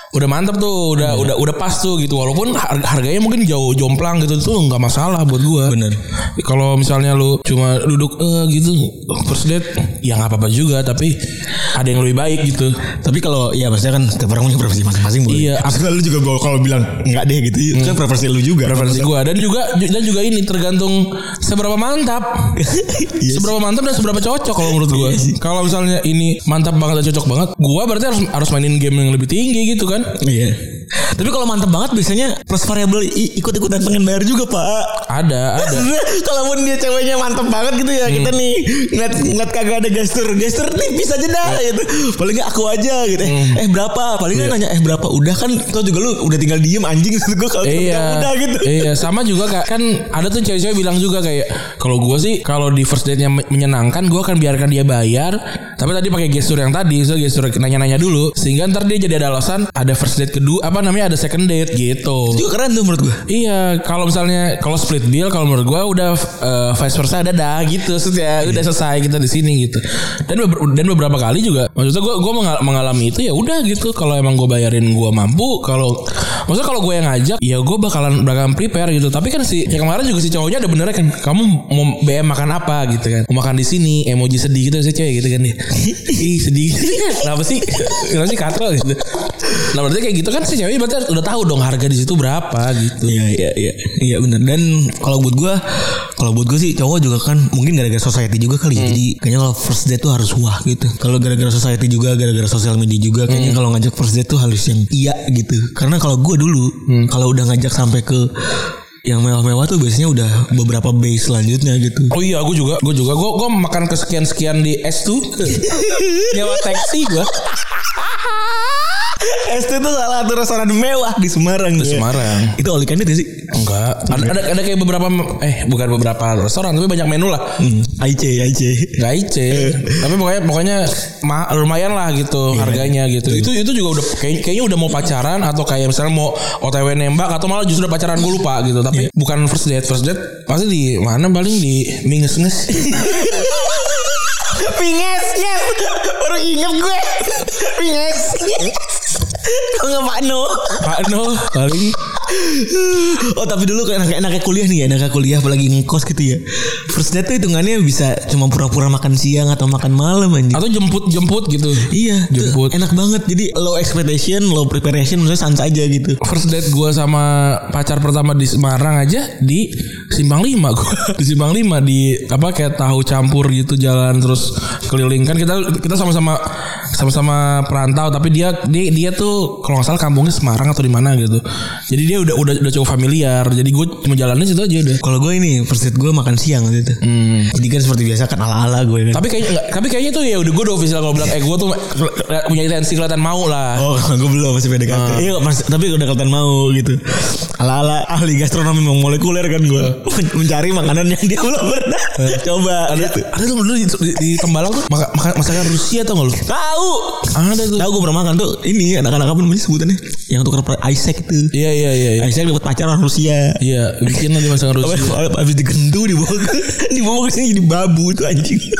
Speaker 2: udah mantep tuh udah
Speaker 3: Iya.
Speaker 2: udah udah pas tuh gitu walaupun har- harganya mungkin jauh jomplang gitu tuh nggak masalah buat gue
Speaker 3: Bener.
Speaker 2: kalau misalnya lu cuma duduk eh, gitu first date ya nggak apa-apa juga tapi ada yang lebih baik gitu
Speaker 3: Tapi kalau ya maksudnya kan setiap orang punya preferensi masing-masing boleh.
Speaker 2: Iya. Hmm.
Speaker 3: Maksudnya lu juga bawa- kalau bilang enggak deh gitu. Itu kan preferensi lu juga.
Speaker 2: preferensi gue dan juga dan juga ini tergantung seberapa mantap
Speaker 3: [laughs] Iya sih. Iya
Speaker 2: seberapa mantap dan seberapa cocok kalau menurut gue kalau misalnya ini mantap banget dan cocok banget gue berarti harus harus mainin game yang lebih tinggi gitu kan
Speaker 3: Iya. Tapi kalau mantep banget biasanya plus variabel i- ikut-ikutan pengen bayar juga pak.
Speaker 2: ada
Speaker 3: [laughs]
Speaker 2: ada
Speaker 3: Sebenernya Kalaupun dia ceweknya mantep banget gitu ya kita
Speaker 2: Hmm.
Speaker 3: nih ngeliat, ngeliat kagak ada gestur gestur tipis aja dah
Speaker 2: Hmm.
Speaker 3: gitu. Paling nggak aku aja gitu. Eh, Eh berapa? Paling
Speaker 2: Iya.
Speaker 3: nggak nanya eh berapa? Udah kan tau juga lu udah tinggal diem anjing [laughs] gitu gue kalau
Speaker 2: Iya,
Speaker 3: udah gitu.
Speaker 2: iya sama juga kak. Kan ada tuh cewek-cewek bilang juga kayak kalau gue sih kalau di first date-nya me- menyenangkan, gue akan biarkan dia bayar. Tapi tadi pakai gestur yang tadi, so gestur nanya-nanya dulu, sehingga ntar dia jadi ada alasan ada first date kedua apa apa namanya ada second date gitu.
Speaker 3: Itu juga keren tuh menurut gue.
Speaker 2: Iya, kalau misalnya kalau split bill kalau menurut gua udah eh, vice versa ada dah gitu. Maksudnya udah selesai kita di sini gitu. Dan beber- dan beberapa kali juga maksudnya gua gua mengal- mengalami itu ya udah gitu. Kalau emang gua bayarin gua mampu, kalau maksudnya kalau gua yang ngajak ya gua bakalan bakalan prepare gitu. Tapi kan si yang kemarin juga si cowoknya ada benernya kan kamu mau BM makan apa gitu kan. Mau makan di sini emoji sedih gitu sih cewek gitu kan
Speaker 3: [laughs]
Speaker 2: dia. Ih sedih. [laughs] Kenapa sih? Kenapa sih katro gitu. Nah berarti kayak gitu kan si cewek berarti udah tahu dong harga di situ berapa gitu.
Speaker 3: Iya iya iya iya benar dan kalau buat gua kalau buat gua sih cowok juga kan mungkin gara-gara society juga kali ya. jadi kayaknya kalau first date tuh harus wah gitu kalau gara-gara society juga gara-gara sosial media juga kayaknya kalau ngajak first date tuh harus yang iya gitu karena kalau gua dulu kalau udah ngajak sampai ke yang mewah-mewah tuh biasanya udah beberapa base selanjutnya gitu
Speaker 2: Oh iya, gue juga, gue juga, gue gue makan kesekian sekian di S
Speaker 3: [laughs]
Speaker 2: tuh, nyawa taksi gue.
Speaker 3: ST tuh salah satu restoran mewah di Semarang ya.
Speaker 2: Di Semarang.
Speaker 3: itu all you can eat ya sih
Speaker 2: Enggak, ada, ada ada kayak beberapa, eh bukan beberapa restoran, tapi banyak menu lah.
Speaker 3: IC IC
Speaker 2: Gak ice, tapi pokoknya pokoknya ma- lumayan lah gitu harganya gitu. Itu itu juga udah kayak- kayaknya udah mau pacaran atau kayak misalnya mau OTW nembak atau malah justru udah pacaran gue lupa gitu. Tapi bukan first date, first date pasti di mana paling di minges-nges.
Speaker 3: Pinges, yes. Baru inget gue. Pinges. Enggak Pak No.
Speaker 2: Pak Nol paling
Speaker 3: Oh tapi dulu kan enak enaknya kuliah nih ya Enaknya kuliah apalagi ngekos gitu ya First date tuh hitungannya bisa Cuma pura-pura makan siang atau makan malam anjir
Speaker 2: atau jemput-jemput gitu.
Speaker 3: Iya tuh
Speaker 2: Jemput.
Speaker 3: Enak banget Jadi low expectation Low preparation Maksudnya santai aja gitu
Speaker 2: first date gue sama pacar pertama di Semarang aja di Simpang 5 gue [laughs] di Simpang 5 di apa kayak tahu campur gitu jalan terus keliling kan kita kita sama-sama sama-sama perantau tapi dia dia dia tuh kalau nggak salah kampungnya Semarang atau di mana gitu jadi dia udah udah udah cukup familiar jadi gue cuma jalannya situ aja udah
Speaker 3: Kalau gue ini First date gue makan siang waktu itu Jadi kan seperti biasa kan ala-ala gue kan
Speaker 2: Hmm. tapi kayaknya nggak- tapi kayaknya tuh ya udah gue udah official kalau bilang eh gue tuh punya intensi kelihatan mau lah
Speaker 3: Oh kalau gue belum masih PDKT
Speaker 2: Ah.
Speaker 3: Iya mas, tapi udah kelihatan mau gitu Ala-ala ahli gastronomi molekuler kan gue
Speaker 2: Ah.
Speaker 3: Mencari makanan yang dia belum pernah Coba gitu.
Speaker 2: ada tuh dulu di, di, di Tembalang tuh maka, maka- masakan Rusia tau gak lu
Speaker 3: Tahu
Speaker 2: ada tuh
Speaker 3: Tahu gue pernah makan tuh Ini anak-anak apa namanya sebutannya Yang tukar per- Isaac itu
Speaker 2: iya iya iya iya.
Speaker 3: Isaac dapat pacar orang Rusia
Speaker 2: Iya, bikin nanti masakan Rusia. [laughs]
Speaker 3: Abis, abis digendu dibawa ke [laughs] Dibawa ke sini jadi babu tuh anjing [laughs]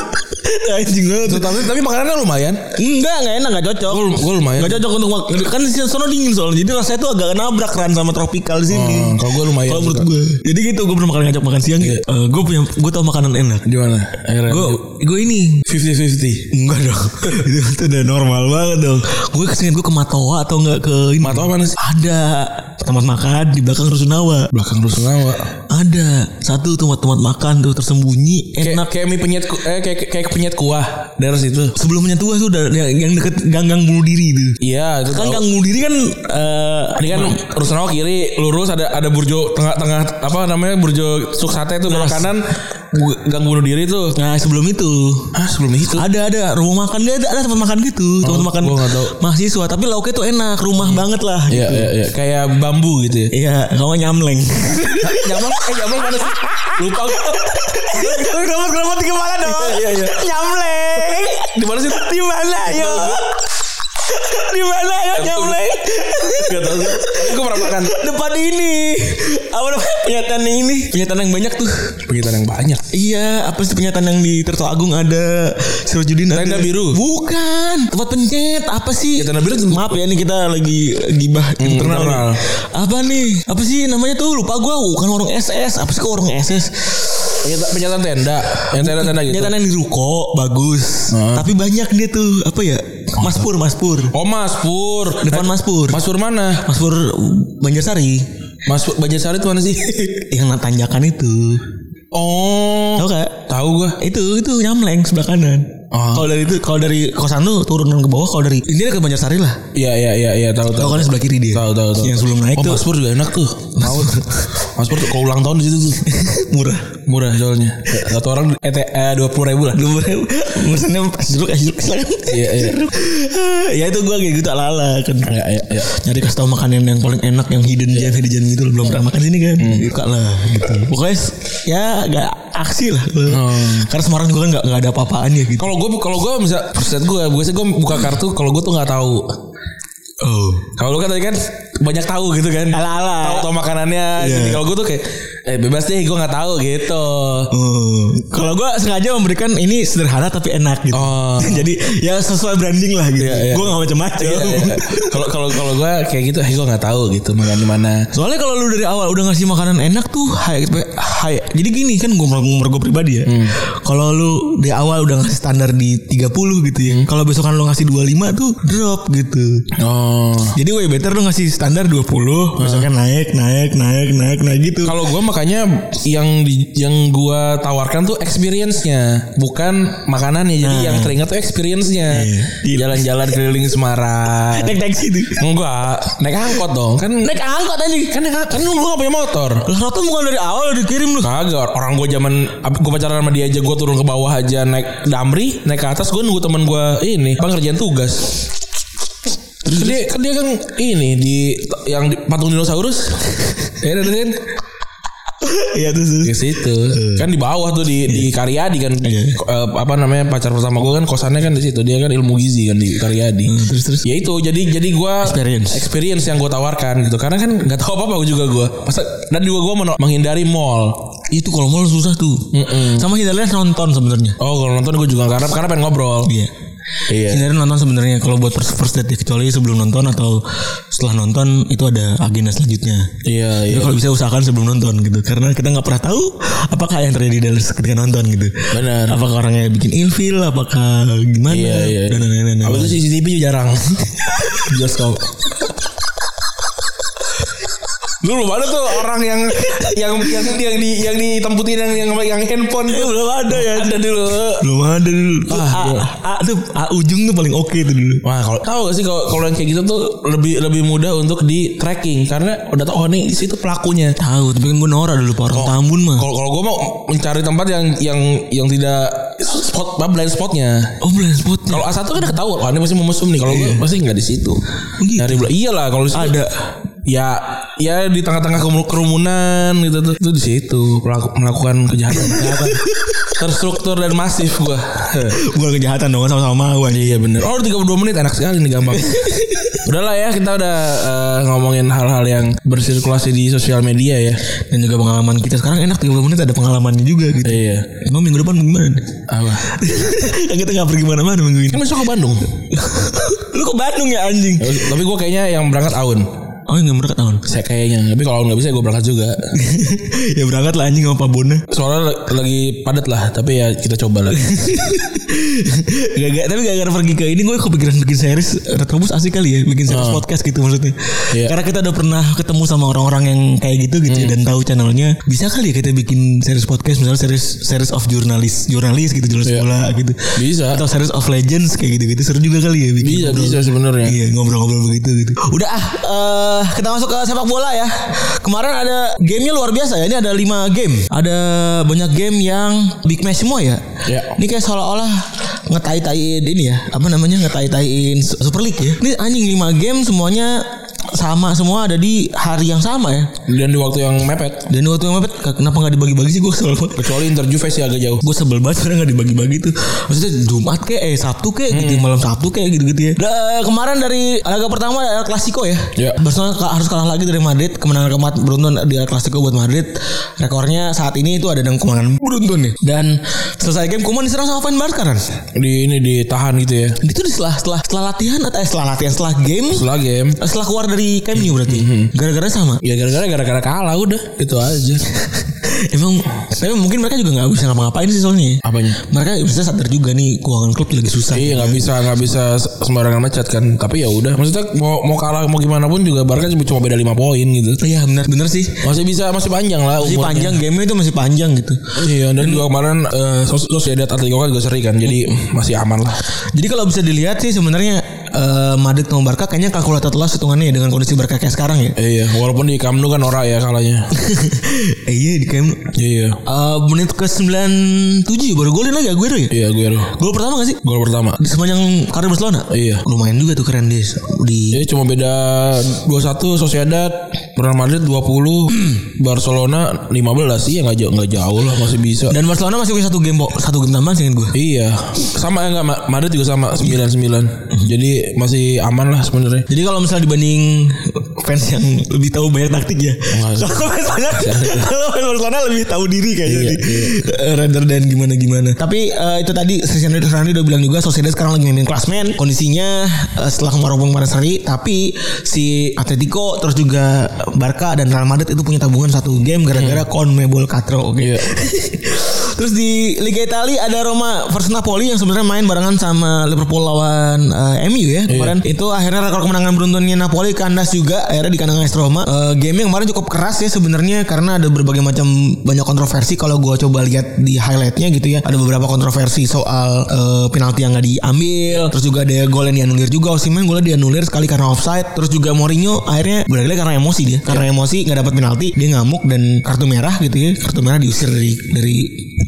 Speaker 3: Anjing banget
Speaker 2: Tuh, tapi, tapi makanannya lumayan.
Speaker 3: Enggak, enggak enak, enggak cocok.
Speaker 2: Gua- gua lumayan.
Speaker 3: Enggak cocok untuk mak- kan di sono dingin soalnya. Jadi rasanya tuh agak nabrak kan sama tropikal di sini.
Speaker 2: Oh, kalau gua Iya. lumayan
Speaker 3: Kalau menurut
Speaker 2: suka.
Speaker 3: gue. Jadi gitu gue pernah makan ngajak makan siang. gitu. Eh, gue punya gue tau makanan enak.
Speaker 2: Gimana? Akhirnya
Speaker 3: Gue gue ini
Speaker 2: 50-50.
Speaker 3: Enggak dong [laughs] itu, itu udah normal banget dong Gue kesini gue ke Matoa atau enggak ke ini
Speaker 2: Matoa mana sih?
Speaker 3: Ada Tempat makan di belakang Rusunawa
Speaker 2: Belakang Rusunawa.
Speaker 3: Ada Satu tuh tempat makan tuh tersembunyi Enak
Speaker 2: Kayak kayak mie penyet ku- eh kayak kayak penyet kuah daerah situ.
Speaker 3: Sebelumnya tua tuh udah yang, yang deket ganggang bunuh diri itu
Speaker 2: Iya, itu
Speaker 3: Kan
Speaker 2: tahu.
Speaker 3: gang bunuh diri kan eh,
Speaker 2: Ini kan Rusunawa kiri lurus ada ada burjo tengah-tengah apa namanya burjo suk sate itu belok
Speaker 3: Nas.
Speaker 2: kanan bu- gang bunuh diri tuh.
Speaker 3: Nah sebelum itu
Speaker 2: Ah, sebelum itu.
Speaker 3: ada ada rumah makan dia ada, ada tempat makan gitu tempat makan
Speaker 2: Oh, gua nggak tahu.
Speaker 3: mahasiswa tapi lauknya tuh enak rumah banget lah gitu.
Speaker 2: Iya, iya, iya. kayak bambu gitu ya. [laughs]
Speaker 3: iya kamu nyamleng
Speaker 2: Nyaman, eh nyaman mana sih? Lupa gua.
Speaker 3: kenapa kenapa di kepala dong
Speaker 2: Iya, iya.
Speaker 3: nyamleng
Speaker 2: Di mana sih?
Speaker 3: di mana yo di mana yo nyamleng
Speaker 2: Gak tau gue. Gue pernah makan.
Speaker 3: depan ini apa namanya penyataan yang ini penyataan yang banyak tuh
Speaker 2: Pengitan yang banyak.
Speaker 3: Iya, apa sih penyataan yang di Terto Agung ada Sirojudin ada.
Speaker 2: Tenda biru.
Speaker 3: Bukan, tempat pencet. Apa sih?
Speaker 2: Ya, tenda biru tuh- Hmm,
Speaker 3: Maaf ya nih kita lagi gibah internal.
Speaker 2: internal.
Speaker 3: nih. Apa nih? Apa sih namanya tuh? Lupa gua, bukan warung SS. Apa sih kok warung SS?
Speaker 2: Penyata- Penyataan tenda, yang tenda-tenda gitu.
Speaker 3: Penyataan yang di ruko bagus.
Speaker 2: Heeh.
Speaker 3: Tapi banyak dia tuh apa ya? Maspur, Maspur.
Speaker 2: Oh Mas Pur.
Speaker 3: Depan
Speaker 2: Eh,
Speaker 3: Mas Pur.
Speaker 2: Mas Pur mana?
Speaker 3: Maspur Banjarsari
Speaker 2: Mas Pur Banjarsari itu mana sih?
Speaker 3: [laughs] yang tanjakan itu.
Speaker 2: oh.
Speaker 3: Tahu gak?
Speaker 2: Tahu gua.
Speaker 3: itu itu nyamleng sebelah kanan.
Speaker 2: Ah.
Speaker 3: Kalau dari itu kalau dari kosan lu turunan ke bawah kalau dari ini ke Banjarsari lah.
Speaker 2: Iya iya iya iya tahu
Speaker 3: Tahu
Speaker 2: tahu.
Speaker 3: kan sebelah kiri dia.
Speaker 2: Tahu tahu tahu.
Speaker 3: Yang sebelum naik
Speaker 2: oh,
Speaker 3: tuh
Speaker 2: Mas Pur juga enak tuh. Tahu. Mas Pur tuh kalau ulang tahun di situ tuh.
Speaker 3: [laughs] murah.
Speaker 2: Murah soalnya. Satu orang eh dua puluh ribu lah.
Speaker 3: Dulu mesennya es jeruk es jeruk silakan.
Speaker 2: Iya,
Speaker 3: [laughs]
Speaker 2: iya.
Speaker 3: ya itu gua kayak gitu ala-ala kan.
Speaker 2: Iya iya iya.
Speaker 3: Nyari kasih tau makanan yang paling enak yang hidden gem hidden gem gitu lu belum pernah makan sini kan.
Speaker 2: Hmm.
Speaker 3: Suka lah gitu. Pokoknya s- ya gak aksi lah. gua.
Speaker 2: Hmm.
Speaker 3: Karena Semarang juga kan gak, gak ada apa-apaan ya gitu.
Speaker 2: Kalau gua kalau gua bisa perset gua, biasanya gua buka kartu kalau gua tuh nggak tahu.
Speaker 3: Oh.
Speaker 2: Kalau lu kan tadi kan banyak tahu gitu kan.
Speaker 3: Ala-ala.
Speaker 2: Tahu tahu makanannya.
Speaker 3: Iya.
Speaker 2: Jadi kalau gue tuh kayak eh bebas deh gue nggak tahu gitu.
Speaker 3: Oh. Kalau gue sengaja memberikan ini sederhana tapi enak gitu.
Speaker 2: Oh.
Speaker 3: [laughs] Jadi ya sesuai branding lah gitu.
Speaker 2: Iya, iya.
Speaker 3: Gue gak macam-macam.
Speaker 2: Iya, iya. [laughs] Kalau kalau kalau gue kayak gitu, eh gue nggak tahu gitu makan di mana.
Speaker 3: Soalnya kalau lu dari awal udah ngasih makanan enak tuh high, expe- high. Jadi gini kan gue ngomong gue pribadi ya.
Speaker 2: Hmm.
Speaker 3: Kalau lu di awal udah ngasih standar di 30 gitu
Speaker 2: Hmm.
Speaker 3: ya. Kalau besokan lu ngasih 25 tuh drop gitu.
Speaker 2: Oh.
Speaker 3: Jadi way better lu ngasih standar 20, besoknya naik, naik, naik, naik, naik gitu.
Speaker 2: Kalau gue makanya yang di, yang gue tawarkan tuh experience-nya, bukan makanannya. Jadi yang teringat tuh experience-nya.
Speaker 3: Nah. Iya.
Speaker 2: Jalan-jalan keliling Semarang.
Speaker 3: Naik naik situ.
Speaker 2: Enggak, naik angkot dong. Kan naik angkot aja. Kan naik angkot. Kan lu gak punya motor.
Speaker 3: Lah rotan bukan dari awal udah dikirim
Speaker 2: [laughs]
Speaker 3: lu.
Speaker 2: Kagak orang gue zaman gue pacaran sama dia aja gue turun ke bawah aja naik damri naik ke atas gue nunggu teman gue ini bang kerjaan tugas terus dia kan dia kan ini di yang di, patung dinosaurus ya ada kan
Speaker 3: Iya tuh.
Speaker 2: ke
Speaker 3: tuh.
Speaker 2: situ kan di bawah tuh di di Karyadi kan
Speaker 3: Iya.
Speaker 2: Ko- eh, apa namanya pacar pertama gue kan kosannya kan di situ dia kan ilmu gizi kan di Karyadi
Speaker 3: Hmm, terus, terus.
Speaker 2: ya itu jadi jadi gue
Speaker 3: Experience.
Speaker 2: experience yang gue tawarkan gitu karena kan nggak tahu apa apa juga gue masa dan juga gue menghindari mall
Speaker 3: Itu kalau mall susah tuh. Sama hindarnya nonton sebenarnya.
Speaker 2: Oh kalau nonton gue juga karena karena pengen ngobrol.
Speaker 3: Iya.
Speaker 2: Iya.
Speaker 3: Hindarin nonton sebenarnya kalau buat first, first date ya. kecuali sebelum nonton atau setelah nonton itu ada agenda selanjutnya.
Speaker 2: Iya iya.
Speaker 3: Jadi kalau bisa usahakan sebelum nonton gitu karena kita nggak pernah tahu apakah yang terjadi dari ketika nonton gitu.
Speaker 2: Benar.
Speaker 3: Apakah orangnya bikin ilfil, apakah gimana
Speaker 2: Iya iya.
Speaker 3: dan lain-lain.
Speaker 2: Apa itu CCTV juga
Speaker 3: [laughs]
Speaker 2: jarang. Bioskop. Lu belum ada tuh orang yang yang yang yang di yang ditemputin yang yang yang handphone tuh belum ada ya. Ada dulu.
Speaker 3: Belum ada dulu. Tuh,
Speaker 2: Ah,
Speaker 3: A,
Speaker 2: iya.
Speaker 3: A tuh A ujung tuh paling oke tuh dulu.
Speaker 2: Wah, kalau tahu gak sih kalau kalau yang kayak gitu tuh lebih lebih mudah untuk di tracking karena udah tahu oh nih di situ pelakunya.
Speaker 3: Tahu, tapi kan gue norak dulu Pak. orang Tambun mah.
Speaker 2: Kalau kalau gue mau mencari tempat yang yang yang tidak spot blind spotnya.
Speaker 3: Oh, blind spotnya. Iya.
Speaker 2: Kalau A1 kan udah ketahuan, wah ini masih mau mesum nih. Kalau gue pasti nggak di situ.
Speaker 3: gitu?
Speaker 2: Nyari bola. Iyalah kalau di situ
Speaker 3: Ada.
Speaker 2: Ya, ya di tengah-tengah kemu- kerumunan gitu tuh. Itu di situ pelaku- melakukan
Speaker 3: [laughs]
Speaker 2: kejahatan. kejahatan. Terstruktur dan masif gua.
Speaker 3: Bukan kejahatan dong, sama-sama mau aja.
Speaker 2: iya bener. Oh 32 menit enak sekali nih
Speaker 3: [laughs]
Speaker 2: gampang. Udahlah ya kita udah eh, ngomongin hal-hal yang bersirkulasi di sosial media ya.
Speaker 3: Dan juga pengalaman kita sekarang enak 30 menit ada pengalamannya juga gitu.
Speaker 2: Iya.
Speaker 3: Emang minggu depan gimana?
Speaker 2: Apa?
Speaker 3: [laughs] Yang kita gak pergi mana-mana minggu [laughs] ini.
Speaker 2: Kan besok ke Bandung.
Speaker 3: Lu ke Bandung ya anjing?
Speaker 2: Tapi gua kayaknya yang berangkat Aun.
Speaker 3: Oh yang berangkat tahun.
Speaker 2: Saya kayaknya. Tapi kalau Aun nggak bisa gua berangkat juga.
Speaker 3: [laughs] ya berangkat lah anjing sama Pak Bona.
Speaker 2: Soalnya l- lagi padat lah, tapi ya kita coba lah.
Speaker 3: gak, gak, tapi gak gara pergi ke ini gue kepikiran bikin series Retrobus asik kali ya bikin series podcast gitu maksudnya
Speaker 2: Oh. Iya. Hmm.
Speaker 3: karena kita udah pernah ketemu sama orang-orang yang kayak gitu gitu ya, dan tahu channelnya bisa kali ya kita bikin series podcast misalnya series series of jurnalis jurnalis gitu jurnalis
Speaker 2: Iya.
Speaker 3: bola gitu
Speaker 2: Bisa.
Speaker 3: atau series of legends kayak gitu gitu seru juga kali ya bikin
Speaker 2: Bisa,
Speaker 3: ngobrol.
Speaker 2: bisa sebenarnya.
Speaker 3: iya ngobrol-ngobrol begitu gitu udah ah eh, kita masuk ke sepak bola ya kemarin ada gamenya luar biasa ya ini ada 5 game ada banyak game yang big match semua ya
Speaker 2: Iya.
Speaker 3: ini kayak seolah-olah ngetai-taiin ini ya apa namanya ngetai-taiin Super League ya ini anjing 5 game semuanya sama semua ada di hari yang sama ya
Speaker 2: Dan di waktu yang mepet,
Speaker 3: dan waktu yang mepet kenapa nggak dibagi-bagi sih gue kesel banget
Speaker 2: kecuali Inter Juve sih agak jauh.
Speaker 3: gue sebel banget sekarang gak dibagi-bagi tuh maksudnya Jumat kayak eh Sabtu kayak gitu malam Sabtu kayak gitu-gitu ya Da- kemarin dari laga pertama ada El Clasico ya
Speaker 2: Iya.
Speaker 3: Barcelona ka- harus kalah lagi dari Madrid kemenangan keempat beruntun di El Clasico buat Madrid rekornya saat ini itu ada dalam kemenangan beruntun nih dan selesai game Kuman diserang sama Van Barca kan
Speaker 2: Di ini ditahan gitu ya.
Speaker 3: itu di setelah setelah setelah latihan atau eh, setelah latihan setelah game
Speaker 2: Setelah game,
Speaker 3: setelah keluar dari Camp Nou berarti gara-gara [laughs] sama
Speaker 2: ya gara-gara gara-gara kalah udah, itu aja.
Speaker 3: emang tapi mungkin mereka juga nggak bisa ngapa-ngapain sih soalnya ya.
Speaker 2: Apanya?
Speaker 3: mereka bisa sadar juga nih keuangan klub lagi susah
Speaker 2: Iya nggak bisa nggak bisa sembarangan mecat kan. Tapi ya udah, maksudnya mau mau kalah mau gimana pun juga Barca cuma cuma beda 5 poin gitu.
Speaker 3: Iya benar benar sih.
Speaker 2: Masih bisa masih panjang lah
Speaker 3: Masih
Speaker 2: umurnya.
Speaker 3: panjang game itu masih panjang gitu.
Speaker 2: Iya dan juga kemarin eh, sos Sociedad Atletico kan juga seri kan. Jadi masih aman lah.
Speaker 3: Jadi kalau bisa dilihat sih sebenarnya eh, Madrid sama Barca kayaknya kalkulator telas hitungannya ya dengan kondisi Barca kayak sekarang ya.
Speaker 2: Iya, walaupun di Camp Nou kan ora ya kalahnya.
Speaker 3: eh, [laughs] iya di game
Speaker 2: Iya.
Speaker 3: eh, menit ke 97 baru golin lagi Aguero ya.
Speaker 2: Iya gue
Speaker 3: Gol pertama gak sih?
Speaker 2: Gol pertama.
Speaker 3: Di sepanjang karir Barcelona.
Speaker 2: Iya.
Speaker 3: Lumayan juga tuh keren dia di
Speaker 2: Jadi cuma beda 21 Sociedad, Real Madrid 20, [clears throat] Barcelona 15. Iya nggak jauh nggak jauh lah masih bisa.
Speaker 3: dan Barcelona masih punya satu game po- satu game tambahan sih gue.
Speaker 2: Iya, sama ya enggak Madrid juga sama 99. Jadi masih aman lah sebenarnya.
Speaker 3: Jadi kalau misalnya dibanding fans yang lebih tahu banyak taktik ya.
Speaker 2: Enggak.
Speaker 3: Kalau fans Barcelona, kalau fans Barcelona lebih tahu diri kayaknya
Speaker 2: Iya,
Speaker 3: nih. Eh, rather than gimana gimana. Tapi eh, itu tadi Cristiano Ronaldo udah bilang juga Sociedad sekarang lagi main klasmen. Kondisinya eh, setelah kemarin kemarin seri, tapi si Atletico terus juga Barca dan Real Madrid itu punya tabungan satu game gara-gara CONMEBOL Catro. Oke.
Speaker 2: Iya.
Speaker 3: Terus di Liga Italia ada Roma versus Napoli yang sebenarnya main barengan sama Liverpool lawan eh, MU ya kemarin. Itu akhirnya rekor kemenangan beruntunnya Napoli kandas juga akhirnya di kandang AS Roma. Eh, game yang kemarin cukup keras ya sebenarnya karena ada berbagai macam banyak kontroversi kalau gua coba lihat di highlightnya gitu ya. Ada beberapa kontroversi soal eh, penalti yang nggak diambil, terus juga ada gol yang dianulir juga. Osimhen golnya dianulir sekali karena offside. Terus juga Mourinho akhirnya berarti karena emosi dia, karena emosi nggak dapat penalti, dia ngamuk dan kartu merah gitu ya. Kartu merah diusir dari dari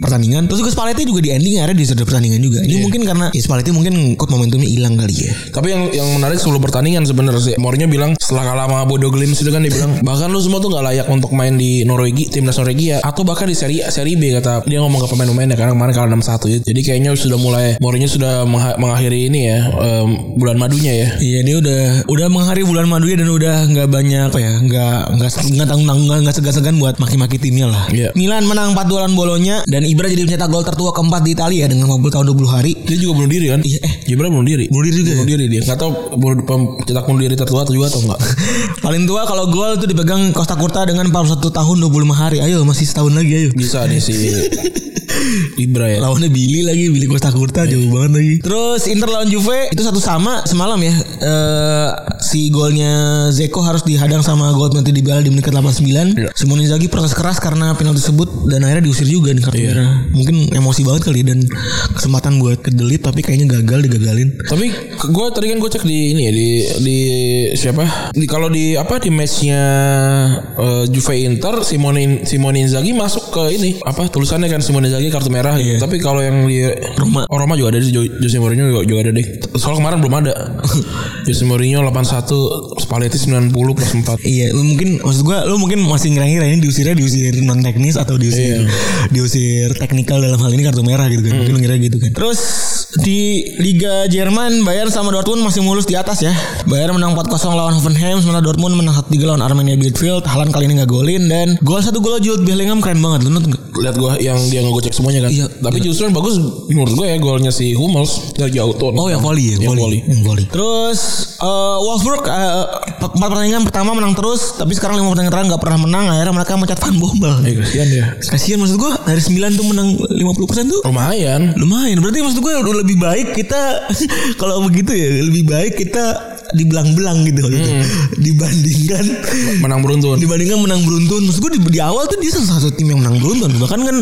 Speaker 3: pertandingan. Terus juga Spalletti juga di ending akhirnya diusir dari pertandingan juga. Ini mungkin karena ya, Spalletti mungkin ikut momentumnya hilang kali ya.
Speaker 2: Tapi yang yang menarik sebelum pertandingan sebenarnya sih Mourinho bilang setelah kalah sama Bodo Glimt itu kan dia bilang bahkan lu semua tuh nggak layak untuk main di Norwegia timnas Norwegia ya. atau bahkan di seri A, seri B kata dia ngomong ke pemain-pemainnya karena kemarin kalah 6-1 ya. Jadi kayaknya sudah mulai Mourinho sudah mengha- mengakhiri ini ya em, bulan madunya ya.
Speaker 3: Iya dia udah udah menghari bulan madunya dan udah nggak banyak apa ya nggak nggak nggak tanggung tanggung nggak- nggak segan-segan buat maki-maki timnya lah.
Speaker 2: Iya.
Speaker 3: Milan menang 4 lawan Bolonya dan Ibra jadi pencetak gol tertua keempat di Italia dengan 50 tahun 20 hari. [laughs]
Speaker 2: Dia juga bunuh diri kan?
Speaker 3: Iya, eh.
Speaker 2: Gibran bunuh diri.
Speaker 3: Bunuh diri juga
Speaker 2: Bunuh
Speaker 3: ya?
Speaker 2: diri dia. Enggak tahu bunuh- pem- cetak bunuh diri tertua atau juga atau
Speaker 3: [laughs]
Speaker 2: enggak.
Speaker 3: Paling tua kalau gol itu dipegang Costa Curta dengan 41 tahun 25 hari. Ayo masih setahun lagi ayo.
Speaker 2: Bisa nih
Speaker 3: [laughs]
Speaker 2: si Ibra ya.
Speaker 3: Lawannya Billy lagi, Billy Costa Curta jauh banget lagi. Iya. Terus Inter lawan Juve itu satu sama semalam ya. Eh si golnya Zeko harus dihadang sama gol penalti di Bala di menit 89.
Speaker 2: Iya.
Speaker 3: Simone Inzaghi protes keras karena penalti tersebut dan akhirnya diusir juga nih kartu merah. Mungkin emosi banget kali ya dan kesempatan buat kedelit tapi kayaknya gagal digagalin.
Speaker 2: Tapi gue tadi kan gue cek di ini ya di di siapa? Di kalau di apa di matchnya eh, Juve Inter Simone Simone Inzaghi masuk ke ini apa tulisannya kan Simone Inzaghi kartu merah. gitu. Tapi kalau yang di
Speaker 3: Iya. Roma.
Speaker 2: oh, Roma juga ada di Jose Mourinho juga, juga ada deh. Soal kemarin belum
Speaker 3: [laughs]
Speaker 2: ada. Jose Mourinho 81 Spalletti 90 plus 4.
Speaker 3: Iya, lu mungkin maksud gua lu mungkin masih ngira-ngira ini diusirnya diusir non teknis
Speaker 2: Iya.
Speaker 3: atau diusir diusir teknikal dalam hal ini kartu merah gitu kan. Mungkin lu ngira gitu kan. Terus di Liga Jerman Bayern sama Dortmund masih mulus di atas ya. Bayern menang 4-0 lawan Hoffenheim sementara Dortmund menang 1-3 lawan Armenia Bielefeld. Halan kali ini nggak golin dan gol satu gol Jude Bellingham keren banget lu nonton nggak?
Speaker 2: Lihat gue yang dia ngegocek semuanya kan.
Speaker 3: Iya.
Speaker 2: Tapi justru yang bagus menurut gue ya golnya si Hummels dari jauh tuh.
Speaker 3: Oh ya volley ya,
Speaker 2: Yang volley.
Speaker 3: Yang volley. Terus eh, Wolfsburg eh, empat pertandingan pertama menang terus, tapi sekarang lima pertandingan terakhir nggak pernah menang. Akhirnya mereka mencat Van Bommel.
Speaker 2: Eh, kasihan dia.
Speaker 3: Kasihan maksud gua dari 9 tuh menang 50% tuh
Speaker 2: Lumayan.
Speaker 3: lumayan. Berarti maksud gua udah lebih baik kita [laughs] kalau begitu ya lebih baik kita dibelang-belang gitu waktu itu. dibandingkan
Speaker 2: Menang beruntun.
Speaker 3: dibandingkan menang beruntun. Maksud gua di, di awal tuh dia salah satu tim yang menang beruntun. Bahkan kan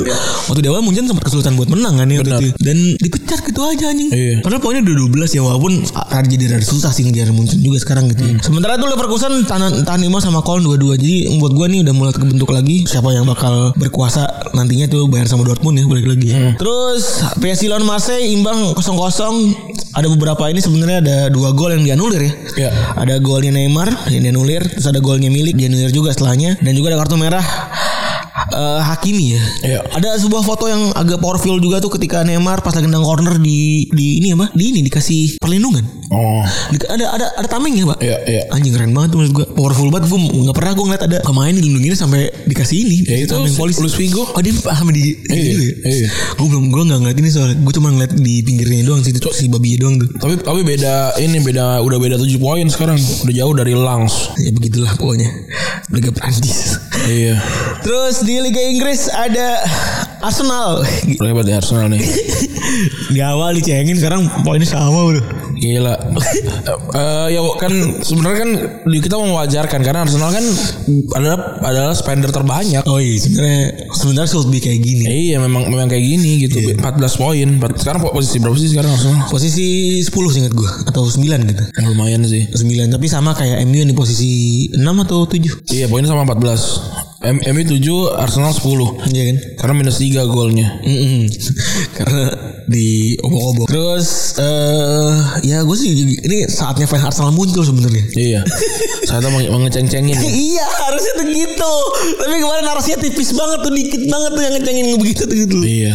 Speaker 3: waktu di awal Munchen sempat kesulitan buat menang kan ya waktu
Speaker 2: Iya. Benar.
Speaker 3: itu. Dan dipecat gitu aja anjing.
Speaker 2: Iya.
Speaker 3: Padahal poinnya udah 12 ya walaupun ah, jadi rada susah sih ngejar Munchen juga sekarang gitu.
Speaker 2: Hmm.
Speaker 3: Sementara itu Leverkusen tahan tahan Imam sama Köln dua-dua. Jadi buat gua nih udah mulai kebentuk lagi siapa yang bakal berkuasa nantinya tuh Bayern sama Dortmund ya balik lagi.
Speaker 2: Hmm.
Speaker 3: Terus PSG lawan Marseille imbang 0-0. Ada beberapa ini sebenarnya ada dua gol yang dianulir ya.
Speaker 2: Iya.
Speaker 3: Ada golnya Neymar yang dianulir, terus ada golnya Milik dianulir juga setelahnya dan juga ada kartu merah eh, Hakimi ya.
Speaker 2: Iya.
Speaker 3: Ada sebuah foto yang agak powerful juga tuh ketika Neymar pas lagi nendang corner di di ini apa? Di ini dikasih perlindungan.
Speaker 2: Oh.
Speaker 3: Di- ada ada ada tamengnya, Pak.
Speaker 2: Iya, iya.
Speaker 3: Anjing keren banget tuh maksud gue Powerful banget Gue gak pernah gue ngeliat ada Pemain dilindunginya sampai dikasih ini
Speaker 2: Ya itu
Speaker 3: Tameng polisi
Speaker 2: Luis Figo.
Speaker 3: Oh dia sama di
Speaker 2: Iya,
Speaker 3: gitu ya?
Speaker 2: iya.
Speaker 3: Gue belum Gue gak ngeliat ini soalnya Gue cuma ngeliat di pinggirnya doang sih Itu si babi doang tuh
Speaker 2: Tapi tapi beda ini beda udah beda 7 poin sekarang. Udah jauh dari Langs.
Speaker 3: Ya begitulah pokoknya Liga Prancis
Speaker 2: Iya.
Speaker 3: Terus di Liga Inggris ada Arsenal
Speaker 2: Hebat ya Arsenal nih.
Speaker 3: Di awal dicengin Sekarang poinnya sama bro
Speaker 2: [laughs] Gila. Eh, ya kan sebenarnya kan di- kita mewajarkan karena Arsenal kan adalah adalah spender terbanyak.
Speaker 3: Oh iya sebenernya Sebenernya should be kayak gini
Speaker 2: Ya iya memang memang kayak gini gitu. 14 poin. Sekarang posisi berapa sih sekarang Arsenal?
Speaker 3: Posisi 10 seinget gue Atau 9 gitu
Speaker 2: Ya, lumayan sih.
Speaker 3: 9 tapi sama kayak MU yang di posisi 6 atau 7
Speaker 2: Iya poinnya sama 14. M MU 7, Arsenal 10.
Speaker 3: Iya kan?
Speaker 2: Karena minus 3 golnya.
Speaker 3: Mm-mm. [laughs] Karena di obok-obok. Terus eh ya gue sih
Speaker 2: [laughs]
Speaker 3: ini saatnya fans Arsenal muncul sebenarnya.
Speaker 2: Iya. Saya tuh menge- mengeceng-cengin.
Speaker 3: Iya harusnya tuh gitu gitu. Tapi kemarin narasinya tipis banget tuh dikit banget tuh yang ngecengin begitu tuh gitu.
Speaker 2: Iya.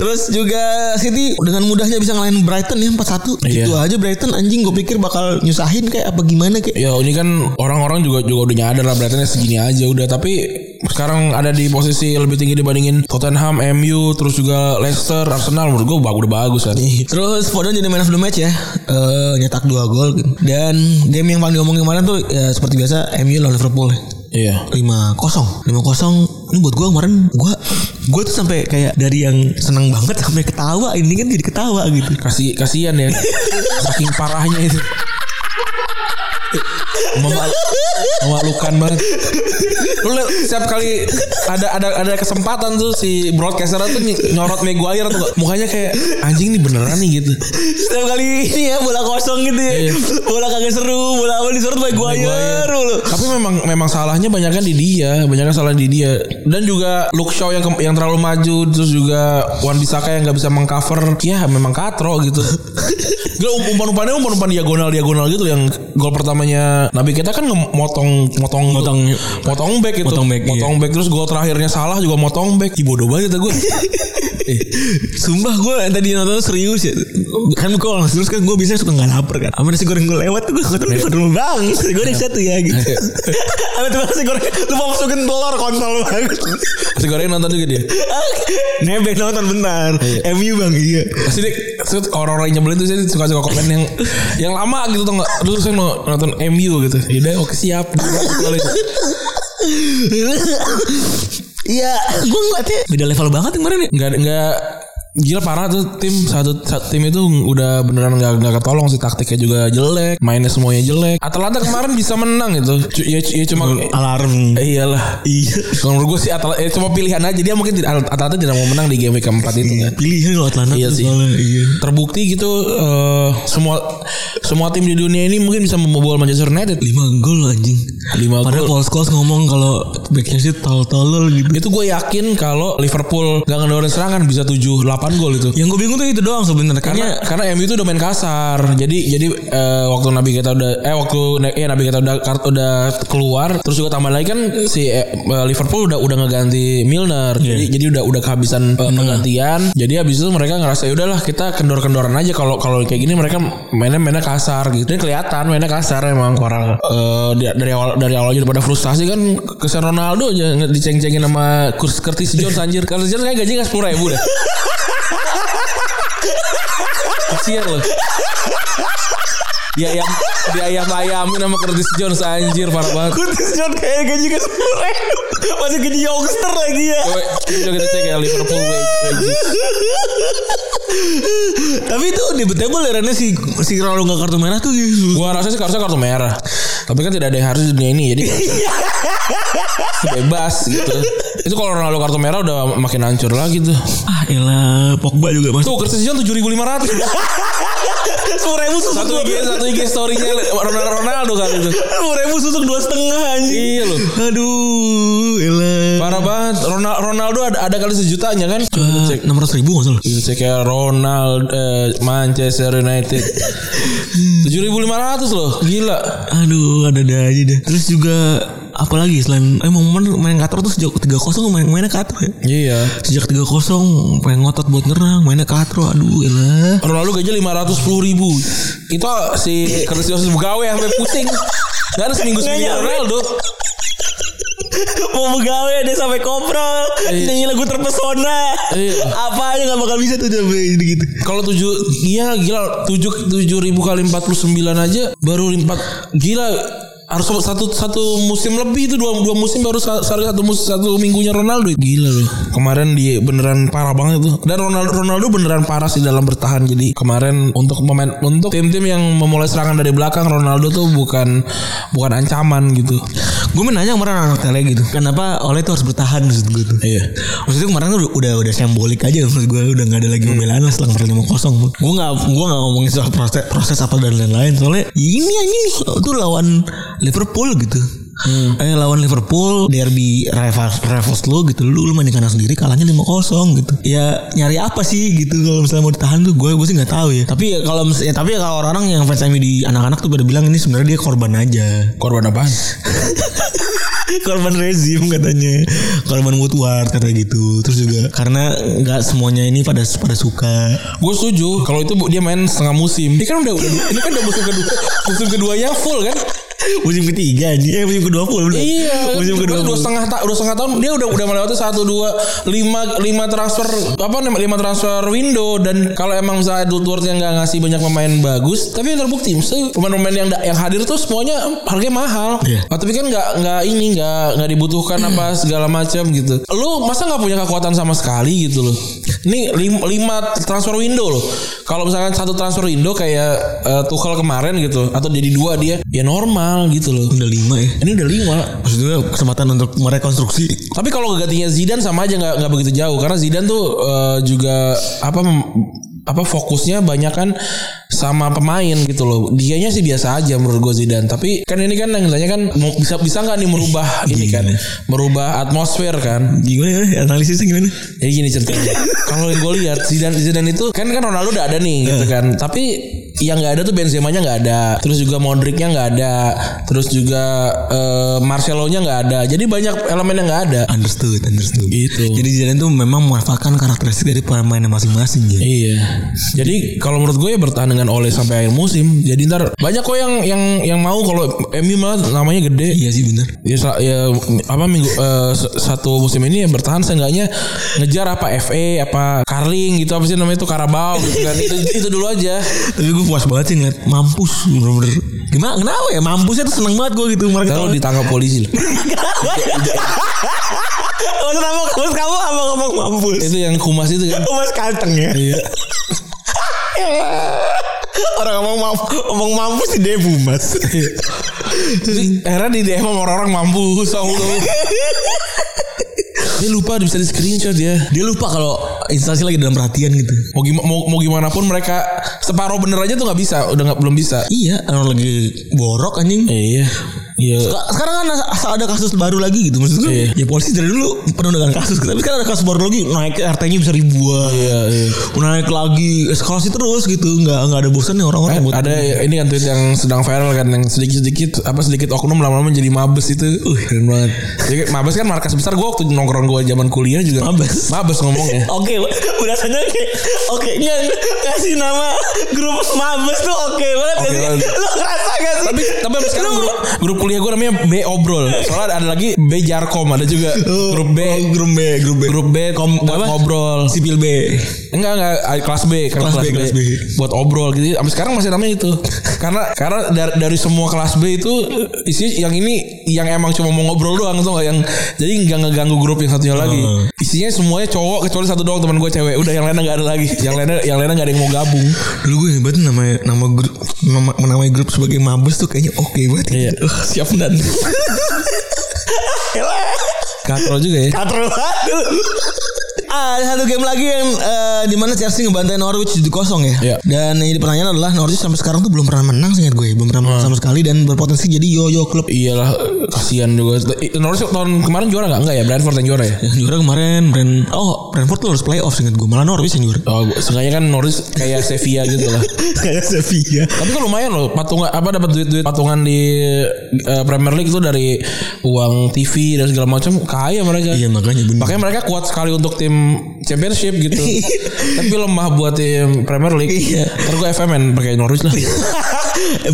Speaker 3: Terus juga City dengan mudahnya bisa ngalahin Brighton ya 4-1.
Speaker 2: Iya.
Speaker 3: Gitu aja Brighton anjing gue pikir bakal nyusahin kayak apa gimana kayak.
Speaker 2: Ya ini kan orang-orang juga juga udah nyadar lah Brightonnya segini aja udah tapi sekarang ada di posisi lebih tinggi dibandingin Tottenham, MU, terus juga Leicester, Arsenal menurut gue udah bagus kan.
Speaker 3: Terus Foden jadi man of the match ya. Eh, nyetak 2 gol gitu. Dan game yang paling diomongin kemarin tuh ya seperti biasa MU lawan Liverpool.
Speaker 2: Iya.
Speaker 3: 5-0 5-0 Ini buat gue kemarin Gue gua tuh sampai kayak Dari yang seneng banget Sampai ketawa Ini kan jadi ketawa gitu
Speaker 2: Kasih kasihan ya. Saking parahnya itu. Memal- memalukan banget. Lu liat, setiap kali ada ada ada kesempatan tuh si broadcaster tuh ny- nyorot Maguire tuh mukanya kayak anjing ini beneran nih gitu.
Speaker 3: Setiap kali ini ya Bola kosong gitu ya
Speaker 2: Iya.
Speaker 3: Bola kagak seru Bola apa disorot by Guayer mulu.
Speaker 2: Tapi memang memang salahnya banyakkan di dia, banyakkan salah di dia. Dan juga Luke Shaw yang ke- yang terlalu maju, terus juga Wan Bisaka yang nggak bisa mengcover. Ya memang katro
Speaker 3: [laughs]
Speaker 2: gitu. Gila um- umpan-umpannya umpan-umpan diagonal diagonal gitu yang gol pertamanya Nabi kita kan ngemotong motong motong motong back itu.
Speaker 3: iya. Motong back, iya.
Speaker 2: motong back. terus gol terakhirnya salah juga motong back. Ih, bodoh banget
Speaker 3: [laughs]
Speaker 2: gue.
Speaker 3: Eh, Sumpah gue tadi nonton serius ya Kan gue kalau serius kan gue biasanya suka gak lapar kan Sama nasi goreng gue lewat tuh gue kata Gue dulu bang Nasi goreng satu ya gitu [laughs] Sama tuh nasi goreng Lupa masukin telur kontol banget [laughs]
Speaker 2: Masih goreng nonton juga dia.
Speaker 3: Nebeng nonton bentar MU bang iya
Speaker 2: Pasti dia terus orang-orang yang nyebelin tuh saya suka suka komen yang yang lama gitu tuh nggak. Terus saya mau nonton MU gitu. Ya udah oke siap. Kalau itu.
Speaker 3: Iya Gue ngeliatnya Beda level banget kemarin ya
Speaker 2: nggak nggak gila parah tuh tim satu, satu tim itu udah beneran nggak nggak ketolong sih taktiknya juga jelek mainnya semuanya jelek Atalanta kemarin bisa menang gitu C- ya, ya cuma
Speaker 3: Alarm
Speaker 2: eh, iyalah
Speaker 3: Iya
Speaker 2: kalau menurut gue sih Atalanta eh, cuma pilihan aja dia mungkin tidak- Atalanta tidak mau menang di game week keempat itu kan
Speaker 3: Pilihan lo Atlanta
Speaker 2: Iya
Speaker 3: ya tuh
Speaker 2: sih.
Speaker 3: soalnya, Iya
Speaker 2: terbukti gitu eh, semua semua tim di dunia ini mungkin bisa membobol Manchester United
Speaker 3: 5 gol anjing
Speaker 2: Lima
Speaker 3: Padahal Paul Scholes ngomong kalau backnya sih tol-tolol gitu
Speaker 2: itu gue yakin kalau Liverpool gak ngedorin serangan bisa 7 8 gol itu
Speaker 3: Yang gue bingung tuh itu doang sebenarnya
Speaker 2: karena
Speaker 3: karena
Speaker 2: karena MU itu udah main kasar jadi jadi eh, waktu Nabi kita udah eh waktu ya Nabi kita udah kartu udah keluar terus juga tambah lagi kan si eh, eh, Liverpool udah udah ngeganti Milner jadi jadi udah udah kehabisan eh, penggantian jadi habis itu mereka ngerasa "Ya udahlah kita kendor-kendoran aja kalau kalau kayak gini mereka mainnya mainnya kasar gitu dan kelihatan mainnya kasar emang orang eh, di- dari awal dari awal aja udah pada frustasi kan Cristiano Ronaldo aja nge- diceng-cengin sama Kurs Curtis Jones anjir Curtis Jones kayak gajinya sepuluh ribu deh Kasian loh Dia ayam Dia ayam ayamin sama Curtis Jones Anjir parah banget
Speaker 3: Curtis John kayak gaji ke sepuluh Masih gaji youngster lagi ya
Speaker 2: Coba coba kita cek ya Liverpool wage- wages.
Speaker 3: Tapi itu debatable Rennya si, si Ronaldo gak kartu merah tuh gitu
Speaker 2: Gua rasa sih harusnya kartu merah Tapi kan tidak ada yang harus di dunia ini Jadi bebas gitu Itu kalau Ronaldo kartu merah udah makin hancur lagi tuh
Speaker 3: Ah elah Pogba juga mas
Speaker 2: Tuh Curtis Jones 7500
Speaker 3: Sepuluh ribu susuk
Speaker 2: Satu IG Satu IG story-nya Ronaldo, Ronaldo kan itu
Speaker 3: Sepuluh ribu susuk dua setengah anjing
Speaker 2: Iya loh
Speaker 3: Aduh elah
Speaker 2: Parah banget Ronal- Ronaldo ada, ada kali sejutanya kan Coba kita cek
Speaker 3: Ah, Enam ratus ribu gak salah
Speaker 2: Gitu cek ya Ronald eh, Manchester United [laughs] 7500 loh Gila
Speaker 3: Aduh ada ada aja deh Terus juga Apalagi selain Emang main, main Qatar tuh sejak 3-0 main, mainnya Qatar ya
Speaker 2: Iya
Speaker 3: Sejak 3-0 pengen ngotot buat nyerang mainnya katro aduh elah
Speaker 2: Ronaldo gajinya 510 ribu Itu si Curtis Jones gawe sampai pusing Gak ada seminggu seminggu
Speaker 3: Nggak nyampe.
Speaker 2: Ronaldo
Speaker 3: mau begawe dia sampai koprol nyanyi lagu terpesona
Speaker 2: Iya.
Speaker 3: apa aja nggak bakal bisa tuh dia gitu
Speaker 2: Kalau 7 Iya gila 7, 7 ribu kali 49 aja Baru 4 Gila harus satu satu musim lebih itu dua dua musim baru sa- satu satu mus- satu minggunya Ronaldo gila loh kemarin dia beneran parah banget tuh dan Ronaldo Ronaldo beneran parah sih dalam bertahan jadi kemarin untuk pemain untuk tim-tim yang memulai serangan dari belakang Ronaldo tuh bukan bukan ancaman gitu
Speaker 3: gue menanya kemarin anak tele gitu kenapa oleh tuh harus bertahan maksud gue tuh
Speaker 2: iya
Speaker 3: maksudnya kemarin tuh udah udah sembolik aja maksud gue udah nggak ada lagi pembelaan lah setelah kemarin lima kosong gue nggak gue nggak ngomongin soal proses proses apa dan lain-lain soalnya ini anjing nih tuh lawan Liverpool gitu Eh lawan Liverpool derby rivals rivals lo gitu lu, lu main di kandang sendiri kalahnya 5-0 gitu ya nyari apa sih gitu kalau misalnya mau ditahan tuh gue gue sih nggak tahu ya tapi ya kalau mis- ya, tapi ya kalau orang yang fans MU di anak-anak tuh pada bilang ini sebenarnya dia korban aja
Speaker 2: korban apaan
Speaker 3: korban rezim katanya korban mood war kata gitu terus juga karena nggak semuanya ini pada pada suka
Speaker 2: Gue setuju kalau itu bu, dia main setengah musim. Ini kan udah ini kan udah musim kedua musim keduanya full kan?
Speaker 3: musim ketiga anjing eh musim kedua puluh
Speaker 2: Iya.
Speaker 3: musim
Speaker 2: kedua dua
Speaker 3: kedua
Speaker 2: setengah ta- dua setengah tahun dia udah udah melewati satu dua lima lima transfer apa lima, lima transfer window dan kalau emang misalnya Edward yang nggak ngasih banyak pemain bagus tapi yang terbukti misalnya pemain-pemain yang da- yang hadir tuh semuanya harganya mahal.
Speaker 3: Iya.
Speaker 2: Nah, tapi kan nggak nggak ini nggak nggak dibutuhkan
Speaker 3: [clears throat]
Speaker 2: apa segala macam gitu. Lu masa nggak punya kekuatan sama sekali gitu loh. Ini lim- lima transfer window loh. Kalau misalkan satu transfer window kayak eh, Tuchel kemarin gitu atau jadi dua dia ya normal gitu loh.
Speaker 3: udah lima ya
Speaker 2: Ini udah lima.
Speaker 3: maksudnya kesempatan untuk merekonstruksi
Speaker 2: Tapi kalau gantinya Zidane sama aja nggak nggak begitu jauh karena Zidane tuh eh, juga apa mem- apa fokusnya banyak kan sama pemain gitu loh. Dianya sih biasa aja menurut gue Zidane. Tapi kan ini kan yang ditanya kan mau bisa bisa nggak nih merubah ini kan, merubah atmosfer kan.
Speaker 3: gimana ya analisisnya gimana
Speaker 2: Jadi gini ceritanya. Kalau yang gue lihat Zidane Zidane itu kan kan Ronaldo udah ada nih gitu kan. Tapi yang nggak ada tuh Benzema-nya nggak ada. Terus juga Modric-nya nggak ada. Terus juga eh, Marcelo-nya nggak ada. Jadi banyak elemen yang nggak ada.
Speaker 3: understood understood
Speaker 2: Gitu.
Speaker 3: jadi Zidane tuh memang memanfaatkan karakteristik dari pemainnya masing-masing ya
Speaker 2: Iya. Jadi kalau menurut gue ya bertahan dengan Ole sampai akhir musim. Jadi ntar banyak kok yang yang yang mau kalau MU malah namanya gede.
Speaker 3: iya sih bener
Speaker 2: Ya, sa- ya, apa minggu eh, s- satu musim ini ya bertahan seenggaknya ngejar apa FA apa Carling gitu apa sih namanya itu Carabao gitu kan. itu, itu dulu aja.
Speaker 3: tapi gue puas banget sih ngeliat mampus bener-bener gimana kenapa ya mampusnya tuh seneng banget gue gitu mereka
Speaker 2: Kalau ditangkap polisi loh.
Speaker 3: Mas kamu mas kamu apa ngomong mampus
Speaker 2: itu yang kumas itu kan.
Speaker 3: mas kanteng ya
Speaker 2: Iya.
Speaker 3: orang ngomong mamp- ngomong mampus di debu mas
Speaker 2: Jadi, akhirnya di DM sama orang-orang mampus sama lu. Dia lupa bisa di screenshot ya.
Speaker 3: dia lupa kalau instansi lagi dalam perhatian gitu
Speaker 2: mau gimana mau, mau gimana pun mereka separuh bener aja tuh nggak bisa udah nggak belum bisa
Speaker 3: iya orang lagi borok anjing
Speaker 2: iya iya
Speaker 3: Sek- sekarang kan asal ada kasus baru lagi gitu maksudnya
Speaker 2: Iya.
Speaker 3: ya polisi dari dulu penuh dengan kasus gitu. tapi sekarang ada kasus baru lagi naik RT-nya bisa ribuan
Speaker 2: iya, iya.
Speaker 3: naik lagi eskalasi terus gitu nggak nggak Eh, ada bosannya orang-orang buat
Speaker 2: Eh, ada ini kan tweet yang sedang viral kan yang sedikit-sedikit apa sedikit oknum lama-lama jadi mabes itu uh keren banget jadi mabes kan markas besar gue waktu nongkrong gue zaman kuliah juga
Speaker 3: Mabes.
Speaker 2: mabes
Speaker 3: [laughs]
Speaker 2: ngomongnya
Speaker 3: Oke, berasanya oke. Oke, nggak kasih nama grup Mabes tuh oke banget.
Speaker 2: Oke
Speaker 3: gak sih?
Speaker 2: banget.
Speaker 3: Lu ngerasa gak sih?
Speaker 2: tapi tapi abis sekarang grup, grup kuliah gue namanya B obrol soalnya ada, ada lagi B jarkom ada juga grup B
Speaker 3: Oh, grup B, grup B.
Speaker 2: grup B kom, buat
Speaker 3: apa?
Speaker 2: ngobrol
Speaker 3: Sipil B.
Speaker 2: Enggak enggak ah, kelas B karena
Speaker 3: Kelas B, kelas B.
Speaker 2: buat obrol gitu. Sampai sekarang masih namanya itu. karena karena dari, dari semua kelas B itu isi yang ini yang emang cuma mau ngobrol doang tuh nggak yang jadi nggak ngeganggu grup yang satunya lagi.
Speaker 3: Hmm.
Speaker 2: Isinya semuanya cowok kecuali satu doang teman gue cewek. Udah yang lainnya nggak ada lagi. Yang lainnya yang lainnya nggak ada yang mau gabung.
Speaker 3: Dulu gue hebat nama nama grup nama menamai grup sebagai Mabes tuh kayaknya oke banget.
Speaker 2: Iya.
Speaker 3: Uh, siap dan.
Speaker 2: Katro juga ya.
Speaker 3: Katro aduh. Ah, Ada satu game lagi yang eh, di mana Chelsea ngebantai Norwich 7-0 ya.
Speaker 2: Iya.
Speaker 3: Dan ini pertanyaan adalah Norwich sampai sekarang tuh belum pernah menang seingat gue, ya. belum pernah menang sama sekali dan berpotensi jadi yo-yo klub.
Speaker 2: Iyalah kasihan juga. Eh, Norwich tahun kemarin juara nggak? Enggak ya. Brentford yang juara ya.
Speaker 3: Yang juara kemarin Brand Oh Brentford tuh harus playoff seinget gue Malah Norwich yang juara
Speaker 2: Oh, seenggaknya kan Norwich kayak Sevilla gitu lah.
Speaker 3: Kayak Sevilla
Speaker 2: Tapi kan lumayan loh patungan apa dapat duit-duit patungan di eh, Premier League itu dari uang TV dan segala macam kaya mereka.
Speaker 3: Iya makanya bener
Speaker 2: Makanya mereka kuat sekali untuk tim championship
Speaker 3: [laughs]
Speaker 2: gitu. Tapi lemah buat tim Premier League.
Speaker 3: Iya.
Speaker 2: Ntar gue FMN pakai Norwich lah.
Speaker 3: [laughs]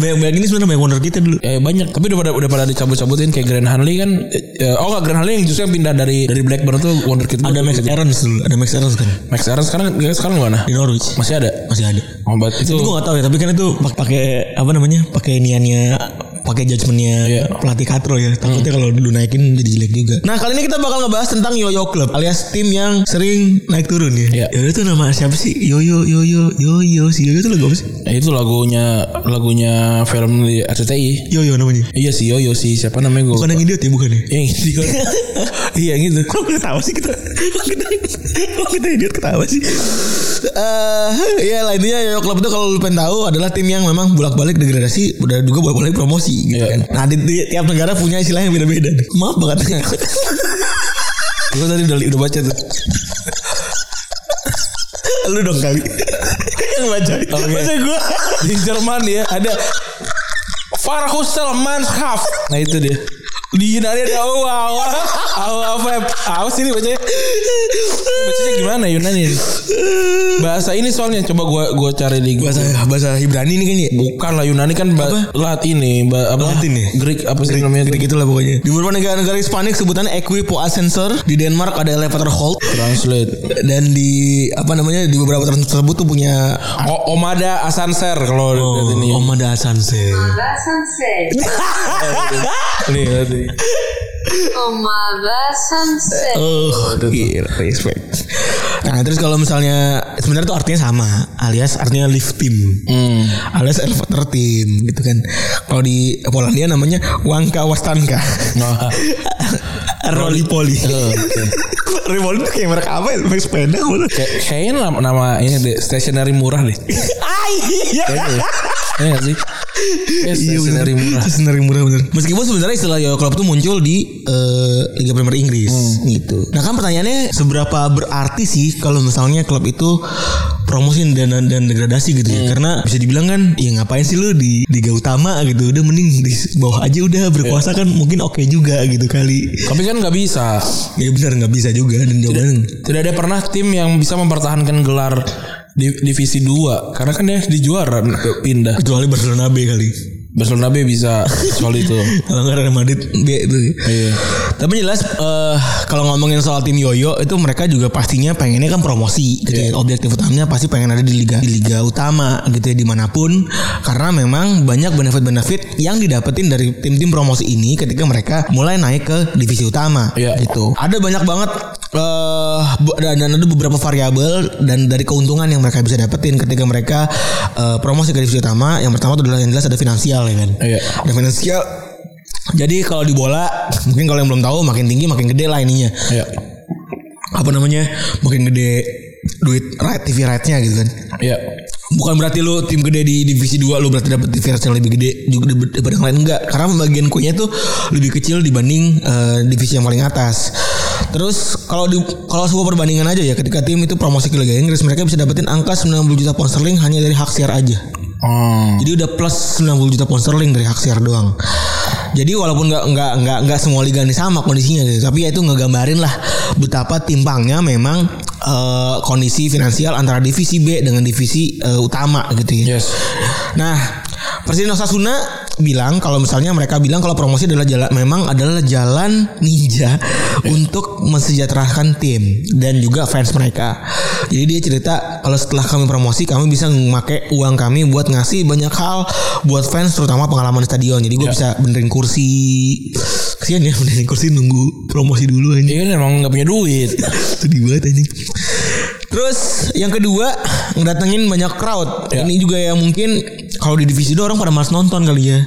Speaker 3: Banyak-banyak ini sebenarnya banyak wonder kita dulu
Speaker 2: Eh banyak, tapi udah pada udah pada dicabut-cabutin kayak Grand Hanley kan. eh, oh enggak Grand Hanley yang justru yang pindah dari dari Blackburn tuh wonderkid.
Speaker 3: Ada Max Aarons dulu Ada Max Aarons kan
Speaker 2: Max Aaron sekarang sekarang mana?
Speaker 3: Di Norwich
Speaker 2: Masih ada.
Speaker 3: Masih ada
Speaker 2: Obat itu.
Speaker 3: Gue gak tau ya Tapi kan itu pak- pakai Apa namanya Pakai niannya pakai judgementnya
Speaker 2: Iya.
Speaker 3: pelatih Katro ya takutnya kalau dulu naikin jadi jelek juga. Nah kali ini kita bakal ngebahas tentang Yoyo Club alias tim yang sering naik turun ya.
Speaker 2: Iya.
Speaker 3: Yoyo tuh nama siapa sih? Yoyo Yoyo Yoyo si Yoyo tuh lagu apa sih?
Speaker 2: Eh, itu lagunya lagunya film di RCTI.
Speaker 3: Yoyo namanya.
Speaker 2: Iya si Yoyo si siapa namanya gue?
Speaker 3: Bukan yang idiot ya bukan ya?
Speaker 2: Yang [laughs] idiot. iya yang itu.
Speaker 3: gitu. Kok ketawa sih kita? Kok kita, kok kita idiot ketawa sih? Eh, ya lah intinya Yoyo Club itu kalau lu pengen tahu adalah tim yang memang bolak-balik degradasi, udah juga bolak-balik promosi gitu
Speaker 2: Iya.
Speaker 3: kan. Nah, di, di tiap negara punya istilah yang beda-beda. Maaf [laughs] banget.
Speaker 2: Gue tadi udah, udah baca tuh.
Speaker 3: lu dong kali. yang baca.
Speaker 2: Oke.
Speaker 3: Baca gua.
Speaker 2: Di Jerman ya ada Farhus Selmannschaft. Nah itu dia. dihindari ada awa awa awa vape apa sih ini bacanya bacanya gimana Yunani bahasa ini soalnya coba gua gua cari di
Speaker 3: bahasa bahasa Ibrani nih kan, ya? kayaknya
Speaker 2: bukan lah Yunani kan ba- Latin nih ba- apa
Speaker 3: Latin ya?
Speaker 2: Greek apa sih namanya
Speaker 3: Gede gitu lah pokoknya. Di beberapa negara-negara Hispanik sebutannya equipo ascensor. Di Denmark ada elevator hold.
Speaker 2: translate
Speaker 3: Dan di apa namanya di beberapa tempat tersebut tuh punya
Speaker 2: O Omada Asanser kalau lihat ini.
Speaker 3: Omada Ascense.
Speaker 4: Sunset.
Speaker 2: Nih, lihat nih.
Speaker 4: Omada Sunset.
Speaker 3: Oh, gila, respect. Nah, terus kalau misalnya sebenarnya tuh artinya sama, alias artinya lift team.
Speaker 2: Hmm.
Speaker 3: Alias elevator team gitu kan. Kalau di Polandia namanya Wanka Wastanka.
Speaker 2: Nah, [laughs]
Speaker 3: Roli Poli.
Speaker 2: eh, oke.
Speaker 3: Roli Poli tuh kayak merek apa ya? Merek sepeda gitu.
Speaker 2: Kayak- Kayaknya nama, nama ini deh, stationery murah deh.
Speaker 3: Ai. Iya.
Speaker 2: Iya nggak sih? Kayak stationery murah.
Speaker 3: Stationery Iya, murah bener. Meskipun sebenarnya istilah Yoyo Club tuh muncul di eh, Liga Premier Inggris gitu. Nah kan pertanyaannya seberapa berarti sih kalau misalnya klub itu promosiin dan dan degradasi gitu ya. Karena bisa dibilang kan ya ngapain sih lu di liga utama gitu. Udah mending di bawah aja udah berkuasa kan mungkin oke juga gitu kali.
Speaker 2: Tapi kan nggak bisa.
Speaker 3: Ya benar nggak bisa juga dan jawabannya
Speaker 2: Tidak ada pernah tim yang bisa mempertahankan gelar di- divisi 2 karena kan dia di juara pindah.
Speaker 3: kecuali Barcelona B kali.
Speaker 2: Barcelona B bisa soal itu.
Speaker 3: Kalau nggak Real Madrid B itu.
Speaker 2: Iya.
Speaker 3: Tapi jelas eh, kalau ngomongin soal tim Yoyo itu mereka juga pastinya pengennya kan promosi gitu
Speaker 2: Iya.
Speaker 3: ya. Objektif utamanya pasti pengen ada di liga di liga utama gitu ya dimanapun karena memang banyak benefit-benefit yang didapetin dari tim-tim promosi ini ketika mereka mulai naik ke divisi utama
Speaker 2: Iya.
Speaker 3: gitu. Ada banyak banget eh be- dan dan ada beberapa variabel dan dari keuntungan yang mereka bisa dapetin ketika mereka eh, promosi ke divisi utama. Yang pertama itu adalah yang jelas ada finansial ya kan.
Speaker 2: Iya.
Speaker 3: Ada finansial. Jadi kalau di bola mungkin kalau yang belum tahu makin tinggi makin gede lah ininya.
Speaker 2: Iya.
Speaker 3: Apa namanya? Makin gede duit right TV right-nya gitu kan.
Speaker 2: Iya.
Speaker 3: Bukan berarti lu tim gede di divisi 2 lu berarti dapat TV rights yang lebih gede juga dib- daripada yang lain enggak. Karena pembagian kuenya tuh lebih kecil dibanding eh, divisi yang paling atas. Terus kalau di kalau sebuah perbandingan aja ya ketika tim itu promosi ke Liga Inggris mereka bisa dapetin angka 90 juta pound sterling hanya dari hak siar aja.
Speaker 2: Hmm.
Speaker 3: Jadi udah plus 90 juta pound sterling dari hak siar doang. Jadi walaupun nggak nggak nggak nggak semua liga ini sama kondisinya gitu, tapi ya itu ngegambarin lah betapa timpangnya memang eh, kondisi finansial antara divisi B dengan divisi eh, utama gitu ya.
Speaker 2: Yes.
Speaker 3: Nah, Presiden Osasuna bilang kalau misalnya mereka bilang kalau promosi adalah jalan memang adalah jalan ninja untuk mensejahterakan tim dan juga fans mereka. Jadi dia cerita kalau setelah kami promosi kami bisa memakai uang kami buat ngasih banyak hal buat fans terutama pengalaman di stadion. Jadi gue bisa benerin kursi. Kasihan ya benerin kursi nunggu promosi dulu aja.
Speaker 2: Iya kan emang nggak punya duit.
Speaker 3: Sedih banget anjing. Terus yang kedua ngedatengin banyak crowd.
Speaker 2: Ya.
Speaker 3: Ini juga yang mungkin kalau di divisi 2 orang pada malas nonton kali ya.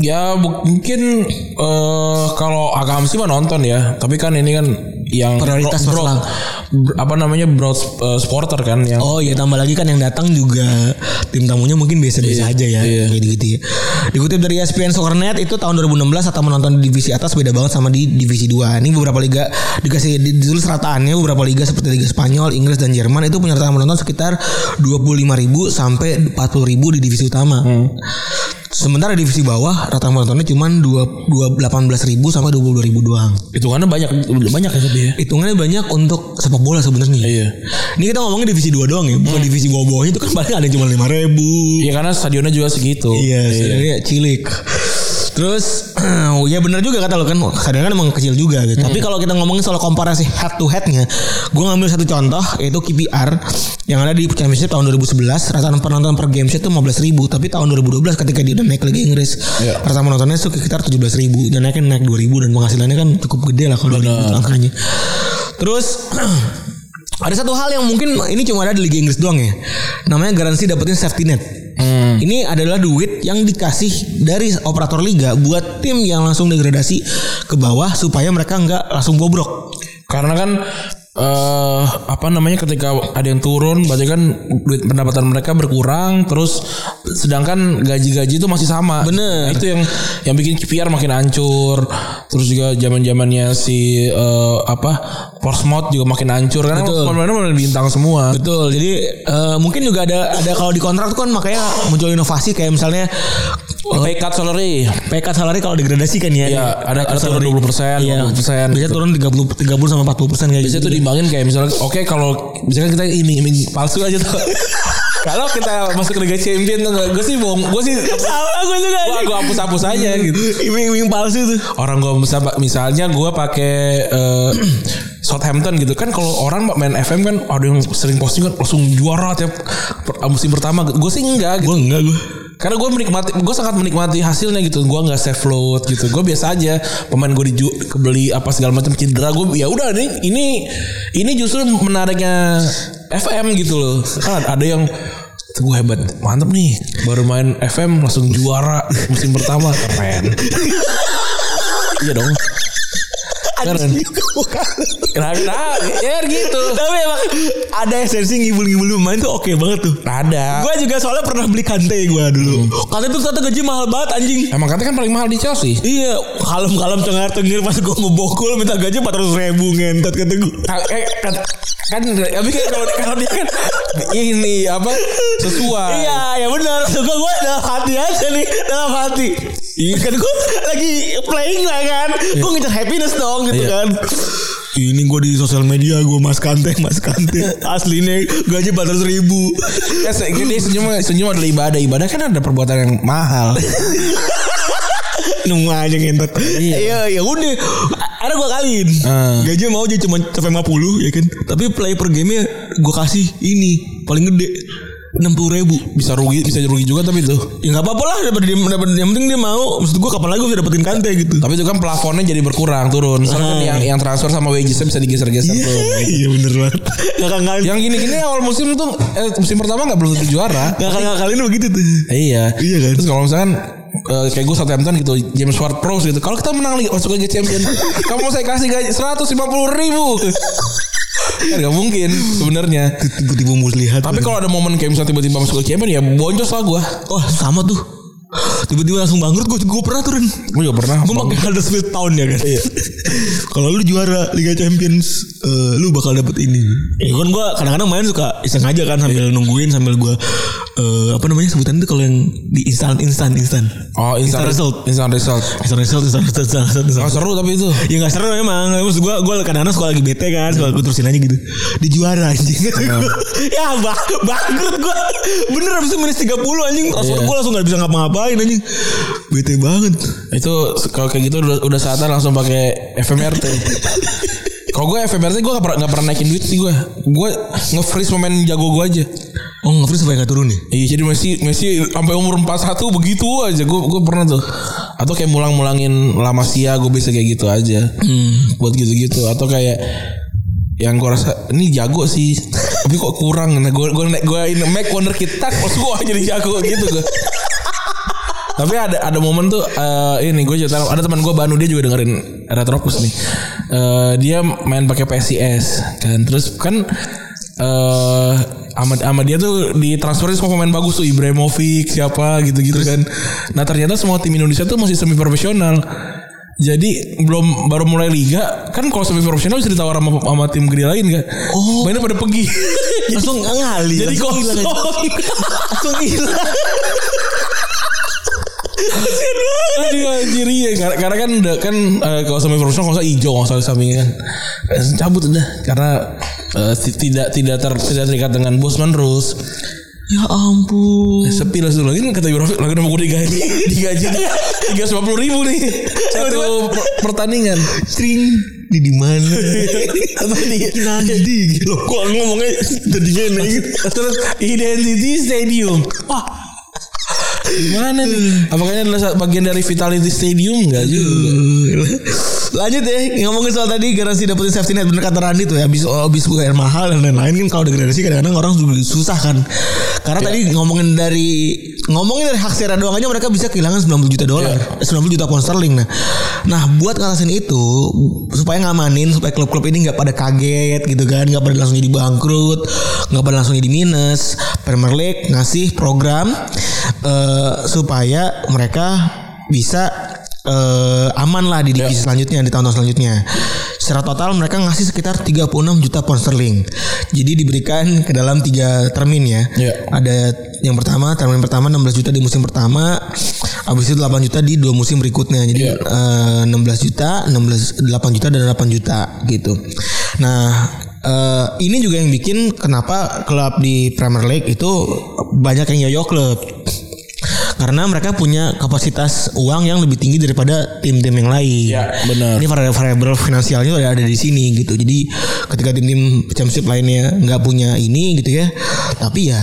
Speaker 2: Ya bu- mungkin eh kalau Akam sih mah nonton ya, tapi kan ini kan yang
Speaker 3: Prioritas
Speaker 2: bro-
Speaker 3: masalah.
Speaker 2: bro- apa namanya broad eh, supporter kan yang
Speaker 3: Oh iya tambah lagi kan yang datang juga tim tamunya mungkin biasa-biasa aja ya.
Speaker 2: iya.
Speaker 3: Kayak gitu ya. Dikutip dari ESPN Soccernet itu tahun 2016 atau menonton di divisi atas beda banget sama di divisi 2. Ini beberapa liga dikasih di- ditulis rataannya beberapa liga seperti liga Spanyol, Inggris dan Jerman itu punya rata menonton sekitar 25.000 sampai 40.000 di divisi utama.
Speaker 2: Hmm.
Speaker 3: Sementara divisi bawah rata menontonnya cuma 18.000 sampai 22.000 doang.
Speaker 2: itu karena banyak banyak ya tapi ya.
Speaker 3: Hitungannya banyak untuk sepak bola sebenarnya.
Speaker 2: Iya.
Speaker 3: Ini kita ngomongin divisi 2 doang ya, bukan divisi bawah-bawahnya itu kan paling ada cuma 5000 ribu.
Speaker 2: Iya karena stadionnya juga segitu.
Speaker 3: Iya, sebenarnya cilik. Terus [clears throat] ya benar juga kata lo kan kadang kan emang kecil juga gitu. Tapi kalau kita ngomongin soal komparasi head to headnya, gue ngambil satu contoh yaitu KPR yang ada di Championship tahun 2011 rata penonton per game set itu 15.000 tapi tahun 2012 ketika dia udah naik ke Liga Inggris
Speaker 2: Iya.
Speaker 3: rata penontonnya itu sekitar 17.000 dan naiknya naik 2.000 dan penghasilannya kan cukup gede lah kalau dihitung angkanya. Terus [clears throat] ada satu hal yang mungkin ini cuma ada di Liga Inggris doang ya. Namanya garansi dapetin safety net. Ini adalah duit yang dikasih dari operator liga buat tim yang langsung degradasi ke bawah supaya mereka nggak langsung bobrok.
Speaker 2: Karena kan eh apa namanya ketika ada yang turun berarti kan duit pendapatan mereka berkurang terus sedangkan gaji-gaji itu masih sama.
Speaker 3: Bener.
Speaker 2: Nah, itu yang yang bikin KPR makin hancur. Terus juga zaman-zamannya si eh, apa Portsmouth juga makin hancur karena
Speaker 3: Betul.
Speaker 2: pemainnya pemain bintang semua.
Speaker 3: Betul. Jadi eh, mungkin juga ada ada kalau di kontrak tuh kan makanya muncul inovasi kayak misalnya
Speaker 2: Pekat salary.
Speaker 3: PK salary kalau degradasi kan ya.
Speaker 2: Iya, ada- ada turun 20%,
Speaker 3: Iya.
Speaker 2: 20%.
Speaker 3: Biasanya turun 30 30 sama 40% kayak gitu.
Speaker 2: Biasanya tuh dimbangin kayak misalnya oke kalau misalkan kita iming iming palsu aja tuh. kalau kita masuk ke Liga Champion tuh gue sih bohong, gue sih
Speaker 3: sama gue juga.
Speaker 2: gua gua hapus-hapus aja gitu.
Speaker 3: Iming-iming palsu tuh.
Speaker 2: Orang gue misalnya gue pakai eh, [clears throat] Southampton gitu kan kalau orang main FM kan ada yang sering posting kan langsung juara tiap per- musim pertama gue sih enggak gitu.
Speaker 3: Gue enggak gue.
Speaker 2: Karena gue menikmati, gue sangat menikmati hasilnya gitu. Gue nggak save float gitu. Gue biasa aja. Pemain gue diju kebeli apa segala macam cedera. Gue ya udah nih. Ini ini justru
Speaker 3: eh,
Speaker 2: menariknya FM gitu loh. Kan
Speaker 3: Ah,
Speaker 2: ada yang gue hebat, mantep nih. Baru main FM langsung juara musim pertama keren. iya dong. Keren. Nah, nah, ya gitu.
Speaker 3: Tapi emang ada esensi ngibul-ngibul pemain tuh oke banget tuh.
Speaker 2: Nah. Ada.
Speaker 3: Gue juga soalnya pernah beli kante gue dulu. Kante tuh kata gaji mahal banget anjing.
Speaker 2: Emang katanya kan paling mahal di Chelsea.
Speaker 3: Iya, kalem-kalem cengar-cengir pas gue ngebokul minta gaji 400 ribu ngentot kata gue.
Speaker 2: Ta- eh, kan, kan tapi kan kalau kalau dia kan ini apa sesuai
Speaker 3: Iya, ya benar. Suka gue dalam hati aja nih, dalam hati. Iya kan gue lagi playing lah kan. Gue ngejar happiness dong gitu
Speaker 2: Iya.
Speaker 3: kan. Ini gue di sosial media gue mas kante mas kante [laughs] aslinya gaji 400 ribu
Speaker 2: ya
Speaker 3: [clears throat]
Speaker 2: se- gede senyum senyum adalah ibadah ibadah kan ada perbuatan yang mahal
Speaker 3: [laughs] nunggu aja ngentot
Speaker 2: Iya.
Speaker 3: iya ya udah ada gue kaliin
Speaker 2: Ah.
Speaker 3: gaji mau aja cuma sampai 50 ya kan tapi play per game nya gue kasih ini paling gede 60 ribu
Speaker 2: bisa rugi bisa rugi juga tapi itu
Speaker 3: ya nggak apa-apa lah dapat dia dapat yang penting dia mau maksud gue kapan lagi gue bisa dapetin kante gitu
Speaker 2: tapi itu kan plafonnya jadi berkurang turun soalnya kan
Speaker 3: Ah.
Speaker 2: yang yang transfer sama wagesnya bisa digeser-geser
Speaker 3: Iya,
Speaker 2: tuh
Speaker 3: iya bener banget. Kakak kali
Speaker 2: yang gini-gini awal musim tuh eh, musim pertama nggak belum tentu juara
Speaker 3: kakak kali ini begitu tuh.
Speaker 2: Iya.
Speaker 3: Iya kan?
Speaker 2: Terus kalau misalkan eh, kayak gue Southampton gitu James Ward Prowse gitu kalau kita menang Liga- masuk Liga
Speaker 3: [laughs]
Speaker 2: Champion kamu saya kasih gaji 150 ribu [laughs] kan gak mungkin sebenarnya
Speaker 3: Tiba-tiba muslihat.
Speaker 2: tapi kalau ada momen kayak misalnya tiba-tiba masuk Liga Champion ya boncos lah gue
Speaker 3: oh sama tuh. Tiba-tiba langsung bangkrut gue gue pernah turun.
Speaker 2: gue juga pernah
Speaker 3: Gue pakai Huddersfield Town ya kan. kalau lu juara Liga Champions, eh, lu bakal dapet ini. Ya kan gue kadang-kadang main suka iseng aja kan sambil nungguin sambil gue eh, apa namanya sebutan itu kalau yang di instan instan instan.
Speaker 2: oh instant result instant result
Speaker 3: Instan result instan result instan result. instant
Speaker 2: oh,
Speaker 3: result.
Speaker 2: seru tapi itu
Speaker 3: Ya gak seru emang Maksud gue Gue kadang-kadang suka lagi bete kan Suka gue terusin aja gitu Di juara anjing [laughs] Ya bak bangkrut gue Bener abis itu minus 30 anjing Langsung
Speaker 2: Iya.
Speaker 3: Gue langsung gak bisa ngapa-ngapain anjing Bete banget
Speaker 2: itu kalau kayak gitu udah, udah saatnya langsung pakai [laughs] FMRT kalau gue FMRT gue gak, pernah- gak pernah naikin duit sih gue gue nge-freeze pemain jago gue aja
Speaker 3: Oh ngefree supaya gak turun nih
Speaker 2: Iya jadi Messi Messi sampai umur 41 begitu aja gue gue pernah tuh atau kayak mulang-mulangin lama sia gue bisa kayak gitu aja buat gitu-gitu atau kayak yang gue rasa ini jago sih tapi kok kurang nah gue gue gue ini make wonder kita kok gue jadi jago gitu gue tapi ada ada momen tuh eh, ini gue cerita ada teman gue Banu dia juga dengerin Retropus nih. Eh, dia main pakai PSIS kan. Terus kan eh sama sama dia tuh ditransferin semua pemain bagus tuh Ibrahimovic siapa gitu-gitu kan. Nah, ternyata semua tim Indonesia tuh masih semi profesional. Jadi belum baru mulai liga kan kalau semi profesional bisa ditawar sama, sama tim gede lain kan.
Speaker 3: Oh.
Speaker 2: Mainnya pada pergi. [laughs]
Speaker 3: Langsung ngali
Speaker 2: Jadi
Speaker 3: langsung hilang
Speaker 2: kosong.
Speaker 3: aja. Langsung hilang
Speaker 2: Aduh anjir iya karena, karena kan udah kan eh, kalau sampai profesional kalau nggak salah hijau kalau nggak salah sampingnya kan Eh, cabut udah karena eh, ti- tidak tidak ter, tidak terikat dengan Bosman terus
Speaker 3: Ya ampun
Speaker 2: sepi lah dulu lagi kata Ibu Rafiq lagi mau gue digaji digaji tiga ribu nih satu per- [laughs] pertandingan
Speaker 3: String Di dimana Nanti gitu. Loh kok ngomongnya Tadinya naik
Speaker 2: terus identity stadium wah gimana nih apakah ini adalah bagian dari vitality stadium enggak juga
Speaker 3: Lanjut ya ngomongin soal tadi garansi dapetin safety net bener kata Randi tuh ya habis habis bayar mahal dan lain-lain kan kalau degradasi kadang-kadang orang juga susah kan. Karena tadi ngomongin dari ngomongin dari hak siaran doang aja mereka bisa kehilangan 90 juta dolar, 90 juta pound sterling nah. Nah, buat ngatasin itu supaya ngamanin supaya klub-klub ini nggak pada kaget gitu kan, nggak pada langsung jadi bangkrut, nggak pada langsung jadi minus. Premier League ngasih program eh, supaya mereka bisa eh, aman lah di divisi selanjutnya di tahun-tahun selanjutnya. Secara total mereka ngasih sekitar 36 juta pound sterling. Jadi diberikan ke dalam tiga termin ya.
Speaker 2: Iya.
Speaker 3: Ada yang pertama termin pertama 16 juta di musim pertama, Abis itu 8 juta di dua musim berikutnya. Jadi
Speaker 2: Iya.
Speaker 3: eh, 16 juta, 16 8 juta dan 8 juta gitu. Nah, eh, ini juga yang bikin kenapa klub di Premier League itu banyak yang yoyo klub. Karena mereka punya kapasitas uang yang lebih tinggi daripada tim-tim yang lain.
Speaker 2: Iya, benar.
Speaker 3: Ya, Ini variabel variabel finansialnya udah ada di sini gitu. Jadi ketika tim-tim championship lainnya nggak punya ini gitu ya, tapi ya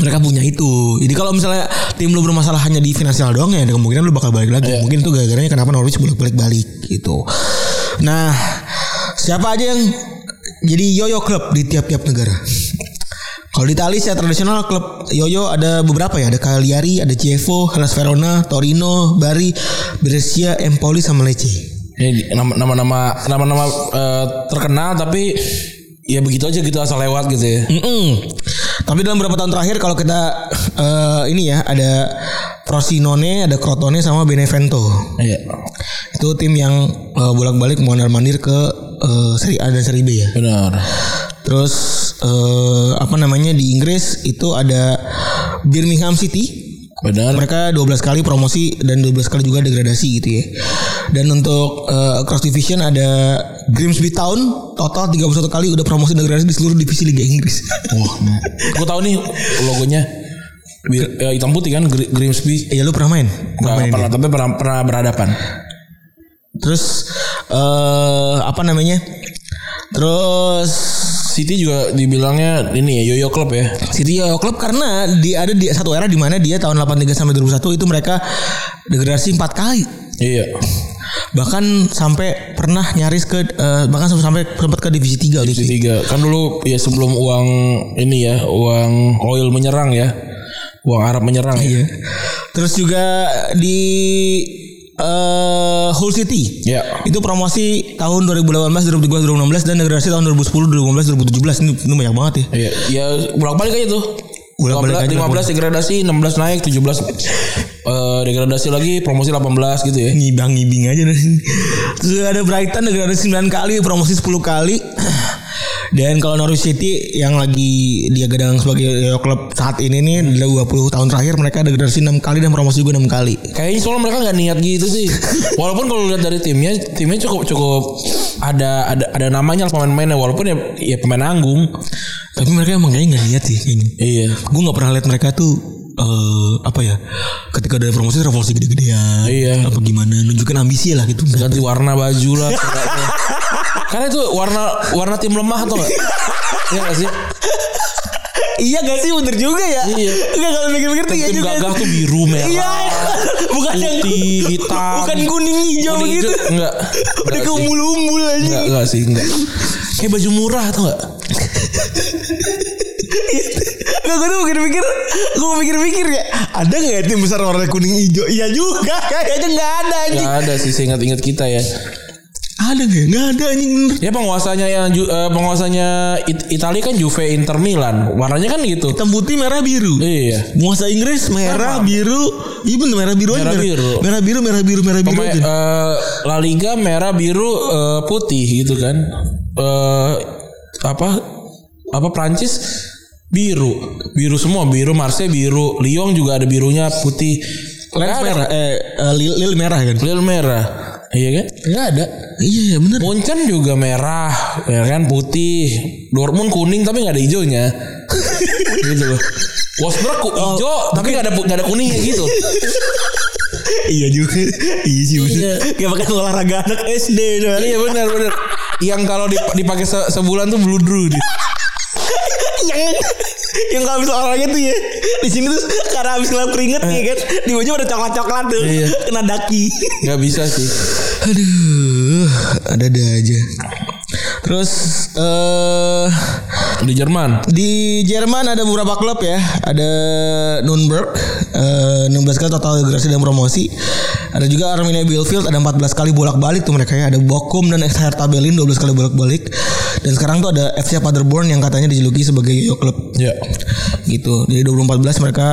Speaker 3: mereka punya itu. Jadi kalau misalnya tim lu bermasalah hanya di finansial doang ya, ada kemungkinan lu bakal balik lagi.
Speaker 2: Iya.
Speaker 3: Mungkin itu gara-garanya kenapa Norwich bolak-balik balik gitu. Nah, siapa aja yang jadi yoyo klub di tiap-tiap negara? Kalau di Italia secara tradisional klub yoyo ada beberapa ya, ada Cagliari, ada Chievo, Hellas Verona, Torino, Bari, Brescia, Empoli sama Lecce.
Speaker 2: Ini Eh, nama- nama-nama nama-nama eh, terkenal tapi ya begitu aja gitu asal lewat gitu ya.
Speaker 3: Mm-mm. Tapi dalam beberapa tahun terakhir kalau kita eh, ini ya ada Frosinone, ada Crotone sama Benevento.
Speaker 2: Iya.
Speaker 3: Itu tim yang eh, bolak-balik mondar-mandir ke eh, Serie A dan Serie B ya.
Speaker 2: Benar.
Speaker 3: Terus eh, apa namanya di Inggris itu ada Birmingham City.
Speaker 2: Benar.
Speaker 3: Mereka 12 kali promosi dan 12 kali juga degradasi gitu ya. Dan untuk eh, cross division ada Grimsby Town total 31 kali udah promosi degradasi di seluruh divisi Liga Inggris. [laughs] Wah,
Speaker 2: Gue tahu nih logonya Bir- eh, hitam putih kan Gr- Grimsby.
Speaker 3: Iya lu pernah main? Pernah
Speaker 2: Nggak
Speaker 3: main
Speaker 2: pernah,
Speaker 3: ini.
Speaker 2: tapi pernah pernah berhadapan.
Speaker 3: Terus eh apa namanya? Terus
Speaker 2: City juga dibilangnya ini ya yoyo klub ya.
Speaker 3: City Yoyo Club karena dia ada di satu era di mana dia tahun 83 sampai 2001 itu mereka degradasi 4 kali.
Speaker 2: Iya.
Speaker 3: Bahkan sampai pernah nyaris ke eh, bahkan sampai sempat ke divisi 3
Speaker 2: Di
Speaker 3: gitu.
Speaker 2: tiga kan dulu ya sebelum uang ini ya uang oil menyerang ya uang Arab menyerang ya.
Speaker 3: Iya. Terus juga di eh Hull City.
Speaker 2: Iya.
Speaker 3: Itu promosi tahun 2018, 2017, 2016 dan degradasi tahun 2010, 2015, 2017 ini, ini banyak banget ya.
Speaker 2: Iya, ya bolak balik aja tuh. Bolak
Speaker 3: Bolak-balik aja,
Speaker 2: 15, 15 degradasi, 16 naik, 17 eh, degradasi lagi, promosi 18 gitu ya.
Speaker 3: ngibang ngibing aja dari sini. Terus ada Brighton degradasi 9 kali, promosi 10 kali. Dan kalau Norwich City yang lagi dia gedang sebagai eh, klub saat ini nih udah 20 tahun terakhir mereka degradasi 6 kali dan promosi juga 6 kali.
Speaker 2: Kayaknya soalnya mereka nggak niat gitu
Speaker 3: [laughs]
Speaker 2: sih. Walaupun kalau lihat dari timnya, timnya cukup cukup ada ada ada namanya lah pemain-pemainnya walaupun ya ya pemain anggung.
Speaker 3: Tapi mereka emang kayaknya gak lihat sih kayaknya.
Speaker 2: Iya.
Speaker 3: Gue gak pernah lihat mereka tuh eh, apa ya ketika ada promosi revolusi gede-gedean
Speaker 2: Iya.
Speaker 3: apa gimana nunjukin ambisi lah gitu Nggak.
Speaker 2: Ganti warna baju
Speaker 3: [laughs]
Speaker 2: lah. kayaknya. Karena itu warna warna tim lemah atau enggak? Iya nggak sih?
Speaker 3: iya gak sih bener juga ya
Speaker 2: Iya.
Speaker 3: Nggak, kalau mikir-mikir tuh iya
Speaker 2: Tim
Speaker 3: juga
Speaker 2: gagah tuh biru merah.
Speaker 3: iya bukan yang
Speaker 2: Putih, hitam.
Speaker 3: bukan kuning hijau
Speaker 2: Kuning
Speaker 3: gitu
Speaker 2: hijau, Enggak.
Speaker 3: Udah
Speaker 2: Enggak
Speaker 3: ke
Speaker 2: sih.
Speaker 3: umbul-umbul aja
Speaker 2: Enggak, enggak sih, enggak. Kayak baju murah atau enggak?
Speaker 3: Gak gue tuh mikir-mikir Gue mikir-mikir ya Ada gak ya tim besar warna kuning hijau Iya juga Kayaknya gak ada anjing
Speaker 2: Enggak ada sih seingat-ingat kita ya.
Speaker 3: Ada gak ya? Gak ada anjing bener
Speaker 2: Ya penguasanya yang Ju- eh, penguasanya It- Italia kan Juve Inter Milan. Warnanya kan gitu.
Speaker 3: Hitam putih merah biru
Speaker 2: Iya.
Speaker 3: Muasa Inggris merah biru Iya bener merah biru aja
Speaker 2: Merah biru.
Speaker 3: Merah biru merah biru merah biru
Speaker 2: Pemain
Speaker 3: aja
Speaker 2: eh, La Liga merah biru eh, putih gitu kan. Eh apa apa Prancis biru. Biru semua biru, Marseille biru, Lyon juga ada birunya putih.
Speaker 3: Lens
Speaker 2: Nggak ada.
Speaker 3: merah Eh eh, lil, lil merah kan
Speaker 2: Lille merah. Iya kan? Enggak ada.
Speaker 3: Iya bener
Speaker 2: Munchen juga merah, ya kan putih. Dortmund kuning tapi nggak ada
Speaker 3: [laughs]
Speaker 2: hijaunya. gitu loh. Wolfsburg ku-
Speaker 3: Oh.
Speaker 2: hijau tapi nggak ada nggak ada kuningnya gitu.
Speaker 3: Iya juga Iya sih bener Kayak makan olahraga anak SD doang.
Speaker 2: iya benar benar. Yang kalau dip- dipakai se- sebulan tuh bludru dia.
Speaker 3: yang yang kalau habis olahraga tuh ya di sini tuh karena habis ngelap keringet ya kan di wajah ada coklat coklat tuh
Speaker 2: Iya.
Speaker 3: kena daki
Speaker 2: Nggak bisa sih.
Speaker 3: aduh ada ada aja terus eh
Speaker 2: Di Jerman.
Speaker 3: di Jerman ada beberapa klub ya ada Nürnberg eh, 16 kali total degradasi dan promosi ada juga Arminia Bielefeld ada 14 kali bolak balik tuh mereka ya ada Bochum dan ex Hertha Berlin 12 kali bolak balik dan sekarang tuh ada FC Paderborn yang katanya dijuluki sebagai yoyo klub
Speaker 2: Ya.
Speaker 3: gitu. Jadi 2014 mereka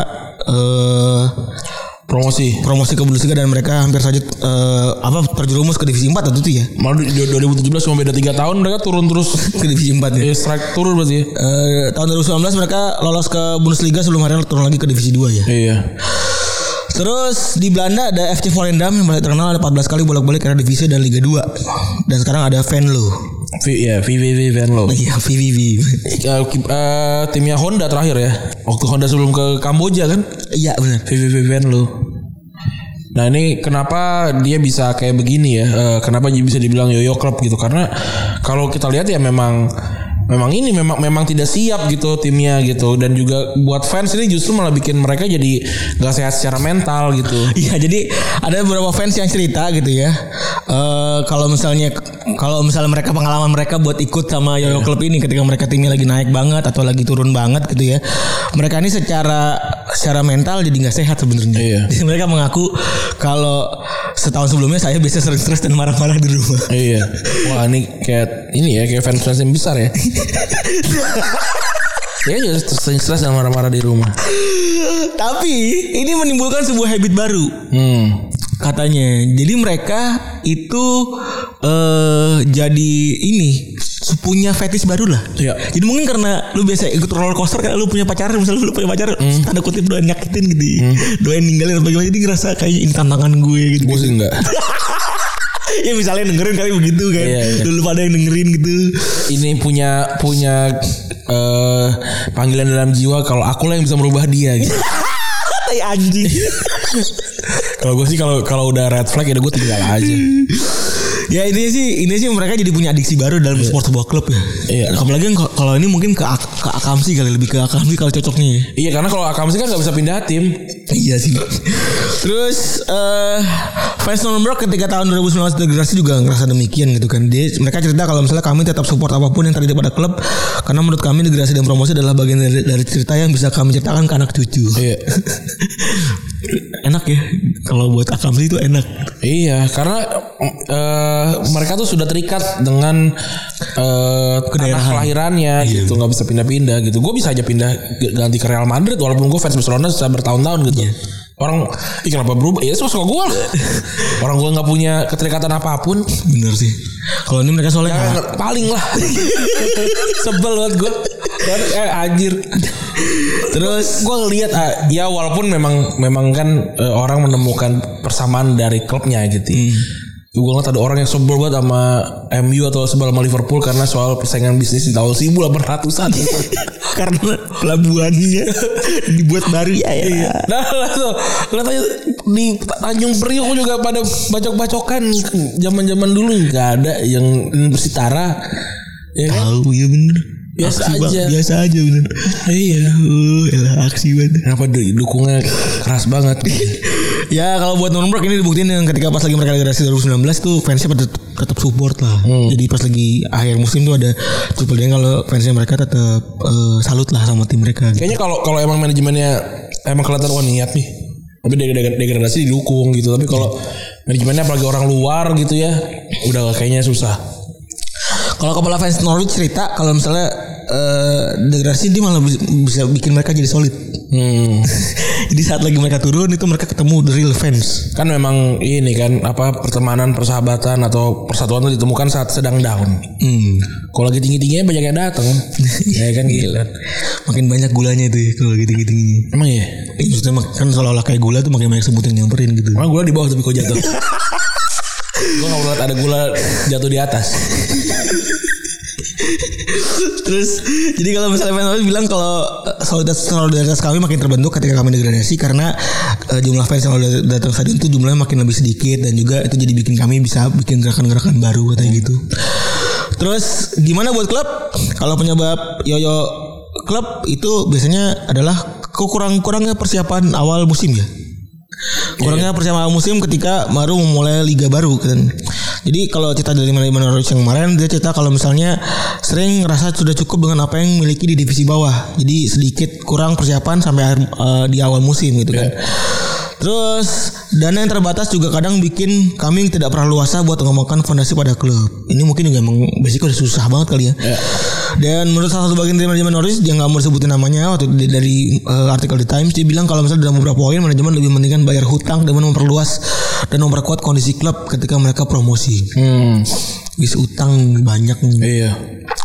Speaker 3: eh
Speaker 2: Promosi.
Speaker 3: promosi ke Bundesliga dan mereka hampir saja eh, apa terjerumus ke divisi 4 atau tuh ya?
Speaker 2: Malah di- di 2017 cuma beda 3 tahun mereka turun terus.
Speaker 3: Ke divisi 4 ya.
Speaker 2: Eh, strike turun berarti ya.
Speaker 3: Eh, tahun 2019 mereka lolos ke Bundesliga sebelum akhirnya turun lagi ke divisi 2 ya.
Speaker 2: Iya.
Speaker 3: Terus di Belanda ada FC Volendam yang paling terkenal ada 14 kali bolak-balik Eredivisie dan Liga 2. Dan sekarang ada Venlo.
Speaker 2: V, ya VVV Venlo.
Speaker 3: [laughs] Iya, VVV.
Speaker 2: Eh, ki- eh, timnya Honda terakhir ya. Waktu Honda sebelum ke Kamboja kan.
Speaker 3: Iya benar.
Speaker 2: VVV Venlo. Nah ini kenapa dia bisa kayak begini ya? Eh, kenapa dia bisa dibilang yoyo klub gitu? Karena kalau kita lihat ya memang memang ini memang memang tidak siap gitu timnya gitu dan juga buat fans ini justru malah bikin mereka jadi nggak sehat secara mental gitu.
Speaker 3: Iya, jadi ada beberapa fans yang cerita gitu ya. Eh kalau misalnya kalau misalnya mereka pengalaman mereka buat ikut sama Yoyo Club ini ketika mereka timnya lagi naik banget atau lagi turun banget gitu ya. Mereka ini secara secara mental jadi nggak sehat sebenarnya.
Speaker 2: Iya.
Speaker 3: Jadi mereka mengaku kalau setahun sebelumnya saya biasa sering stres dan marah-marah di rumah.
Speaker 2: Iya. Wah ini kayak ini ya kayak fans fans yang besar ya. Dia juga stres stres dan marah-marah di rumah.
Speaker 3: Tapi ini menimbulkan sebuah habit baru
Speaker 2: Hmm.
Speaker 3: katanya. Jadi mereka itu eh jadi ini punya fetish baru lah.
Speaker 2: Iya.
Speaker 3: Jadi mungkin karena lu biasa ikut roller coaster karena lu punya pacar, misalnya lu punya pacar,
Speaker 2: Hmm.
Speaker 3: tanda kutip doain nyakitin gitu, doain ninggalin atau bagaimana, jadi ngerasa kayaknya ini tantangan gue gitu.
Speaker 2: Gue sih enggak.
Speaker 3: ya misalnya dengerin kali begitu kan,
Speaker 2: Iya, iya.
Speaker 3: dulu pada yang dengerin gitu.
Speaker 2: [laughs] Ini punya punya eh panggilan dalam jiwa kalau aku lah yang bisa merubah dia gitu.
Speaker 3: Tai anjing.
Speaker 2: kalau gue sih kalau kalau udah red flag ya udah gue tinggal aja.
Speaker 3: ya ini sih ini sih mereka jadi punya adiksi baru dalam sport sebuah klub ya.
Speaker 2: Iya.
Speaker 3: Apalagi yang ko- kalau ini mungkin ke ak- ke akamsi kali lebih ke akamsi kalau cocoknya. ya.
Speaker 2: Iya karena kalau akam sih kan nggak bisa pindah tim.
Speaker 3: Iya sih. Terus eh fans Nuremberg ketika tahun 2019 degradasi juga ngerasa demikian gitu kan. Dia mereka cerita kalau misalnya kami tetap support apapun yang terjadi pada klub karena menurut kami degradasi dan promosi adalah bagian dari, dari cerita yang bisa kami ceritakan ke anak cucu.
Speaker 2: Iya.
Speaker 3: enak ya kalau buat akam sih itu enak.
Speaker 2: Iya, karena eh, mereka tuh sudah terikat dengan eh tanah
Speaker 3: Kedaerahan.
Speaker 2: kelahirannya gitu, nggak bisa pindah-pindah gitu. Gue bisa aja pindah g- ganti ke Real Madrid walaupun gue fans Barcelona sudah bertahun-tahun gitu. Orang, ih kenapa berubah? Ya suka gue lah. Orang gue nggak punya keterikatan apapun,
Speaker 3: Bener sih. Kalau ini mereka soalnya
Speaker 2: Jangan, paling lah. [laughs] Sebel banget gue. Eh, anjir. Terus gue ngeliat ah, ya walaupun memang memang kan eh, orang menemukan persamaan dari klubnya gitu. Gue ngeliat ada orang yang sebel banget sama MU atau sebel sama Liverpool karena soal persaingan bisnis di tahun 1800-an.
Speaker 3: karena pelabuhannya [laughs] dibuat baru ya. ya.
Speaker 2: Nah, langsung lihat aja di Tanjung Priok juga pada bacok-bacokan zaman-zaman dulu nggak ada yang bersitara. Ya kan?
Speaker 3: Tahu ya bener.
Speaker 2: Biasa
Speaker 3: Aksi ba-
Speaker 2: aja.
Speaker 3: Biasa aja bener. Iya. Uh, elah, aksi banget.
Speaker 2: Kenapa du- dukungnya keras banget?
Speaker 3: Ya kalau buat Nuremberg ini dibuktiin dengan ketika pas lagi mereka degradasi 2019 tuh fansnya pada tet- tetap support lah. Jadi pas lagi akhir musim tuh ada triple yang kalau fansnya mereka tetap eh, salut lah sama tim mereka. gitu.
Speaker 2: Kayaknya kalau kalau emang manajemennya emang kelihatan wah niat nih. Tapi deg- deg- degradasi didukung gitu. Tapi kalau manajemennya apalagi orang luar gitu ya, udah kayaknya susah.
Speaker 3: Kalau kepala fans Norwich cerita kalau misalnya eh, degradasi dia malah bis- bisa bikin mereka jadi solid. [laughs]
Speaker 2: Hmm.
Speaker 3: jadi saat lagi mereka turun itu mereka ketemu the real fans.
Speaker 2: Kan memang ini kan apa pertemanan, persahabatan atau persatuan itu ditemukan saat sedang down.
Speaker 3: Hmm.
Speaker 2: Kalau lagi tinggi-tingginya banyak yang [laughs] datang. ya kan gila.
Speaker 3: Makin banyak gulanya itu ya, kalau gitu-gitu ini.
Speaker 2: Emang ya?
Speaker 3: Eh, maksudnya mak- kan seolah-olah kayak gula tuh makin banyak sebut yang nyamperin gitu.
Speaker 2: Emang gula di bawah tapi kok [laughs] jatuh. Gue gak pernah liat ada gula jatuh di atas.
Speaker 3: Terus jadi kalau misalnya fans Norwich bilang kalau eh, solidaritas solidaritas kami makin terbentuk ketika kami degradasi karena eh, jumlah fans yang udah datang stadion itu jumlahnya makin lebih sedikit dan juga itu jadi bikin kami bisa bikin gerakan-gerakan baru katanya gitu. Terus gimana buat klub? Kalau penyebab yoyo klub itu biasanya adalah kekurang-kurangnya persiapan awal musim ya. Kurangnya persiapan awal musim ketika baru memulai liga baru kan. Jadi kalau cerita dari manajemen Norwich yang kemarin dia cerita kalau misalnya sering ngerasa sudah cukup dengan apa yang miliki di divisi bawah. Jadi sedikit kurang persiapan sampai akhir- eh, di awal musim gitu kan. Terus dana yang terbatas juga kadang bikin kami tidak pernah luasa buat mengembangkan fondasi pada klub. Ini mungkin juga emang basic udah susah banget kali ya. Dan menurut salah satu bagian dari manajemen Norwich dia nggak mau sebutin namanya waktu di- dari eh, artikel The Times dia bilang kalau misalnya dalam beberapa poin manajemen lebih mendingan bayar hutang dan memperluas dan memperkuat kondisi klub ketika mereka promosi.
Speaker 2: Hmm.
Speaker 3: Wis utang banyak nih.
Speaker 2: Iya.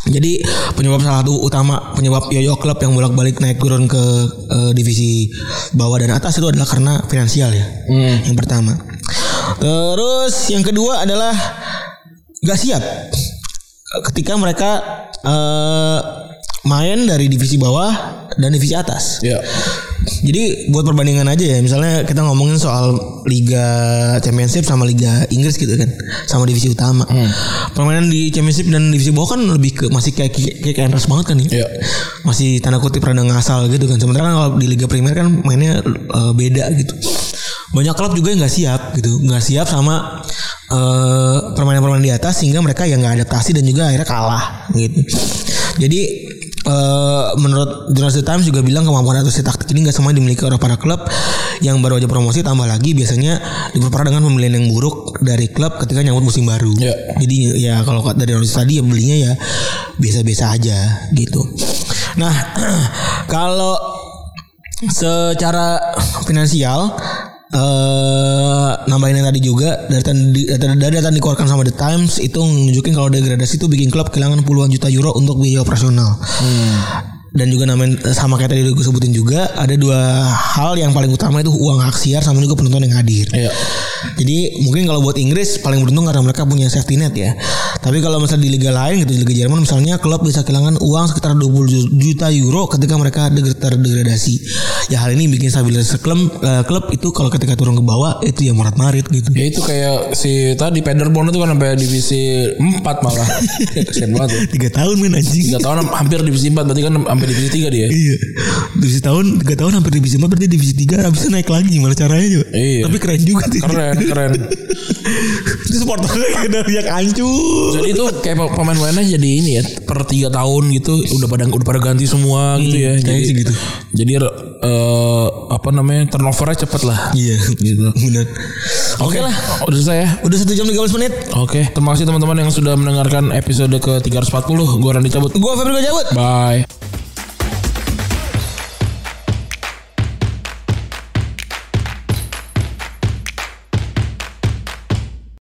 Speaker 3: Jadi penyebab salah satu utama penyebab yoyo klub yang bolak-balik naik turun ke eh, divisi bawah dan atas itu adalah karena finansial ya. Yang pertama. Terus yang kedua adalah nggak siap ketika mereka eh, main dari divisi bawah dan divisi atas.
Speaker 2: Ya.
Speaker 3: Jadi buat perbandingan aja ya, misalnya kita ngomongin soal Liga Championship sama Liga Inggris gitu kan, sama divisi utama. Permainan di Championship dan divisi bawah kan lebih ke masih kayak kick kick and rush banget kan ya.
Speaker 2: Iya.
Speaker 3: Masih tanda kutip rada ngasal gitu kan. Sementara kan kalau di Liga Primer kan mainnya eh, beda gitu. Banyak klub juga yang nggak siap gitu, nggak siap sama eh, permainan-permainan di atas sehingga mereka yang nggak adaptasi dan juga akhirnya kalah gitu. Jadi Eh, menurut Journal The Times juga bilang kemampuan adaptasi taktik ini nggak semuanya dimiliki oleh para klub yang baru aja promosi tambah lagi biasanya diperparah dengan pembelian yang buruk dari klub ketika nyambut musim baru.
Speaker 2: Ya.
Speaker 3: Jadi ya kalau dari Rosis tadi ya belinya ya biasa-biasa aja gitu. Nah [clears throat] kalau secara finansial eh nambahin yang tadi juga data data, data yang dikeluarkan sama The Times itu nunjukin kalau degradasi itu bikin klub kehilangan puluhan juta euro untuk biaya operasional. Dan juga nambahin eh, sama kayak tadi udah gue sebutin juga ada dua hal yang paling utama itu uang hak siar sama juga penonton yang hadir.
Speaker 2: Iya.
Speaker 3: Jadi mungkin kalau buat Inggris paling beruntung karena mereka punya safety net ya. Tapi kalau misalnya di liga lain gitu di liga Jerman misalnya klub bisa kehilangan uang sekitar 20 ju- juta euro ketika mereka deg- terdegradasi. Ya hal ini bikin stabilitas klub eh, klub itu kalau ketika turun ke bawah itu ya murat-marit gitu.
Speaker 2: Ya itu kayak si tadi Paderborn itu kan sampai divisi 4
Speaker 3: [laughs]
Speaker 2: malah. Kesian banget ya.
Speaker 3: Tiga tahun main anjing.
Speaker 2: Tiga tahun hampir divisi 4 berarti kan hampir divisi 3 dia.
Speaker 3: Iya. Divisi tahun, tiga tahun hampir divisi 4 berarti divisi 3 habis itu naik lagi gimana caranya juga.
Speaker 2: Iya.
Speaker 3: Tapi keren juga sih.
Speaker 2: Keren, keren.
Speaker 3: [laughs] Itu supporternya dari [laughs] yang hancur.
Speaker 2: Jadi itu kayak pe- pemain-pemainnya jadi ini ya per 3 tahun gitu udah pada udah pada ganti semua gitu ya.
Speaker 3: kayaknya
Speaker 2: Jadi
Speaker 3: sih gitu.
Speaker 2: Jadi eh, apa namanya? turnovernya cepet lah.
Speaker 3: Iya, gitu. Benar.
Speaker 2: Oke lah, udah selesai ya.
Speaker 3: Udah satu jam 13 menit.
Speaker 2: Oke, terima kasih teman-teman yang sudah mendengarkan episode ke-340. Gua Randy cabut.
Speaker 3: Gua Febri gua cabut.
Speaker 2: Bye.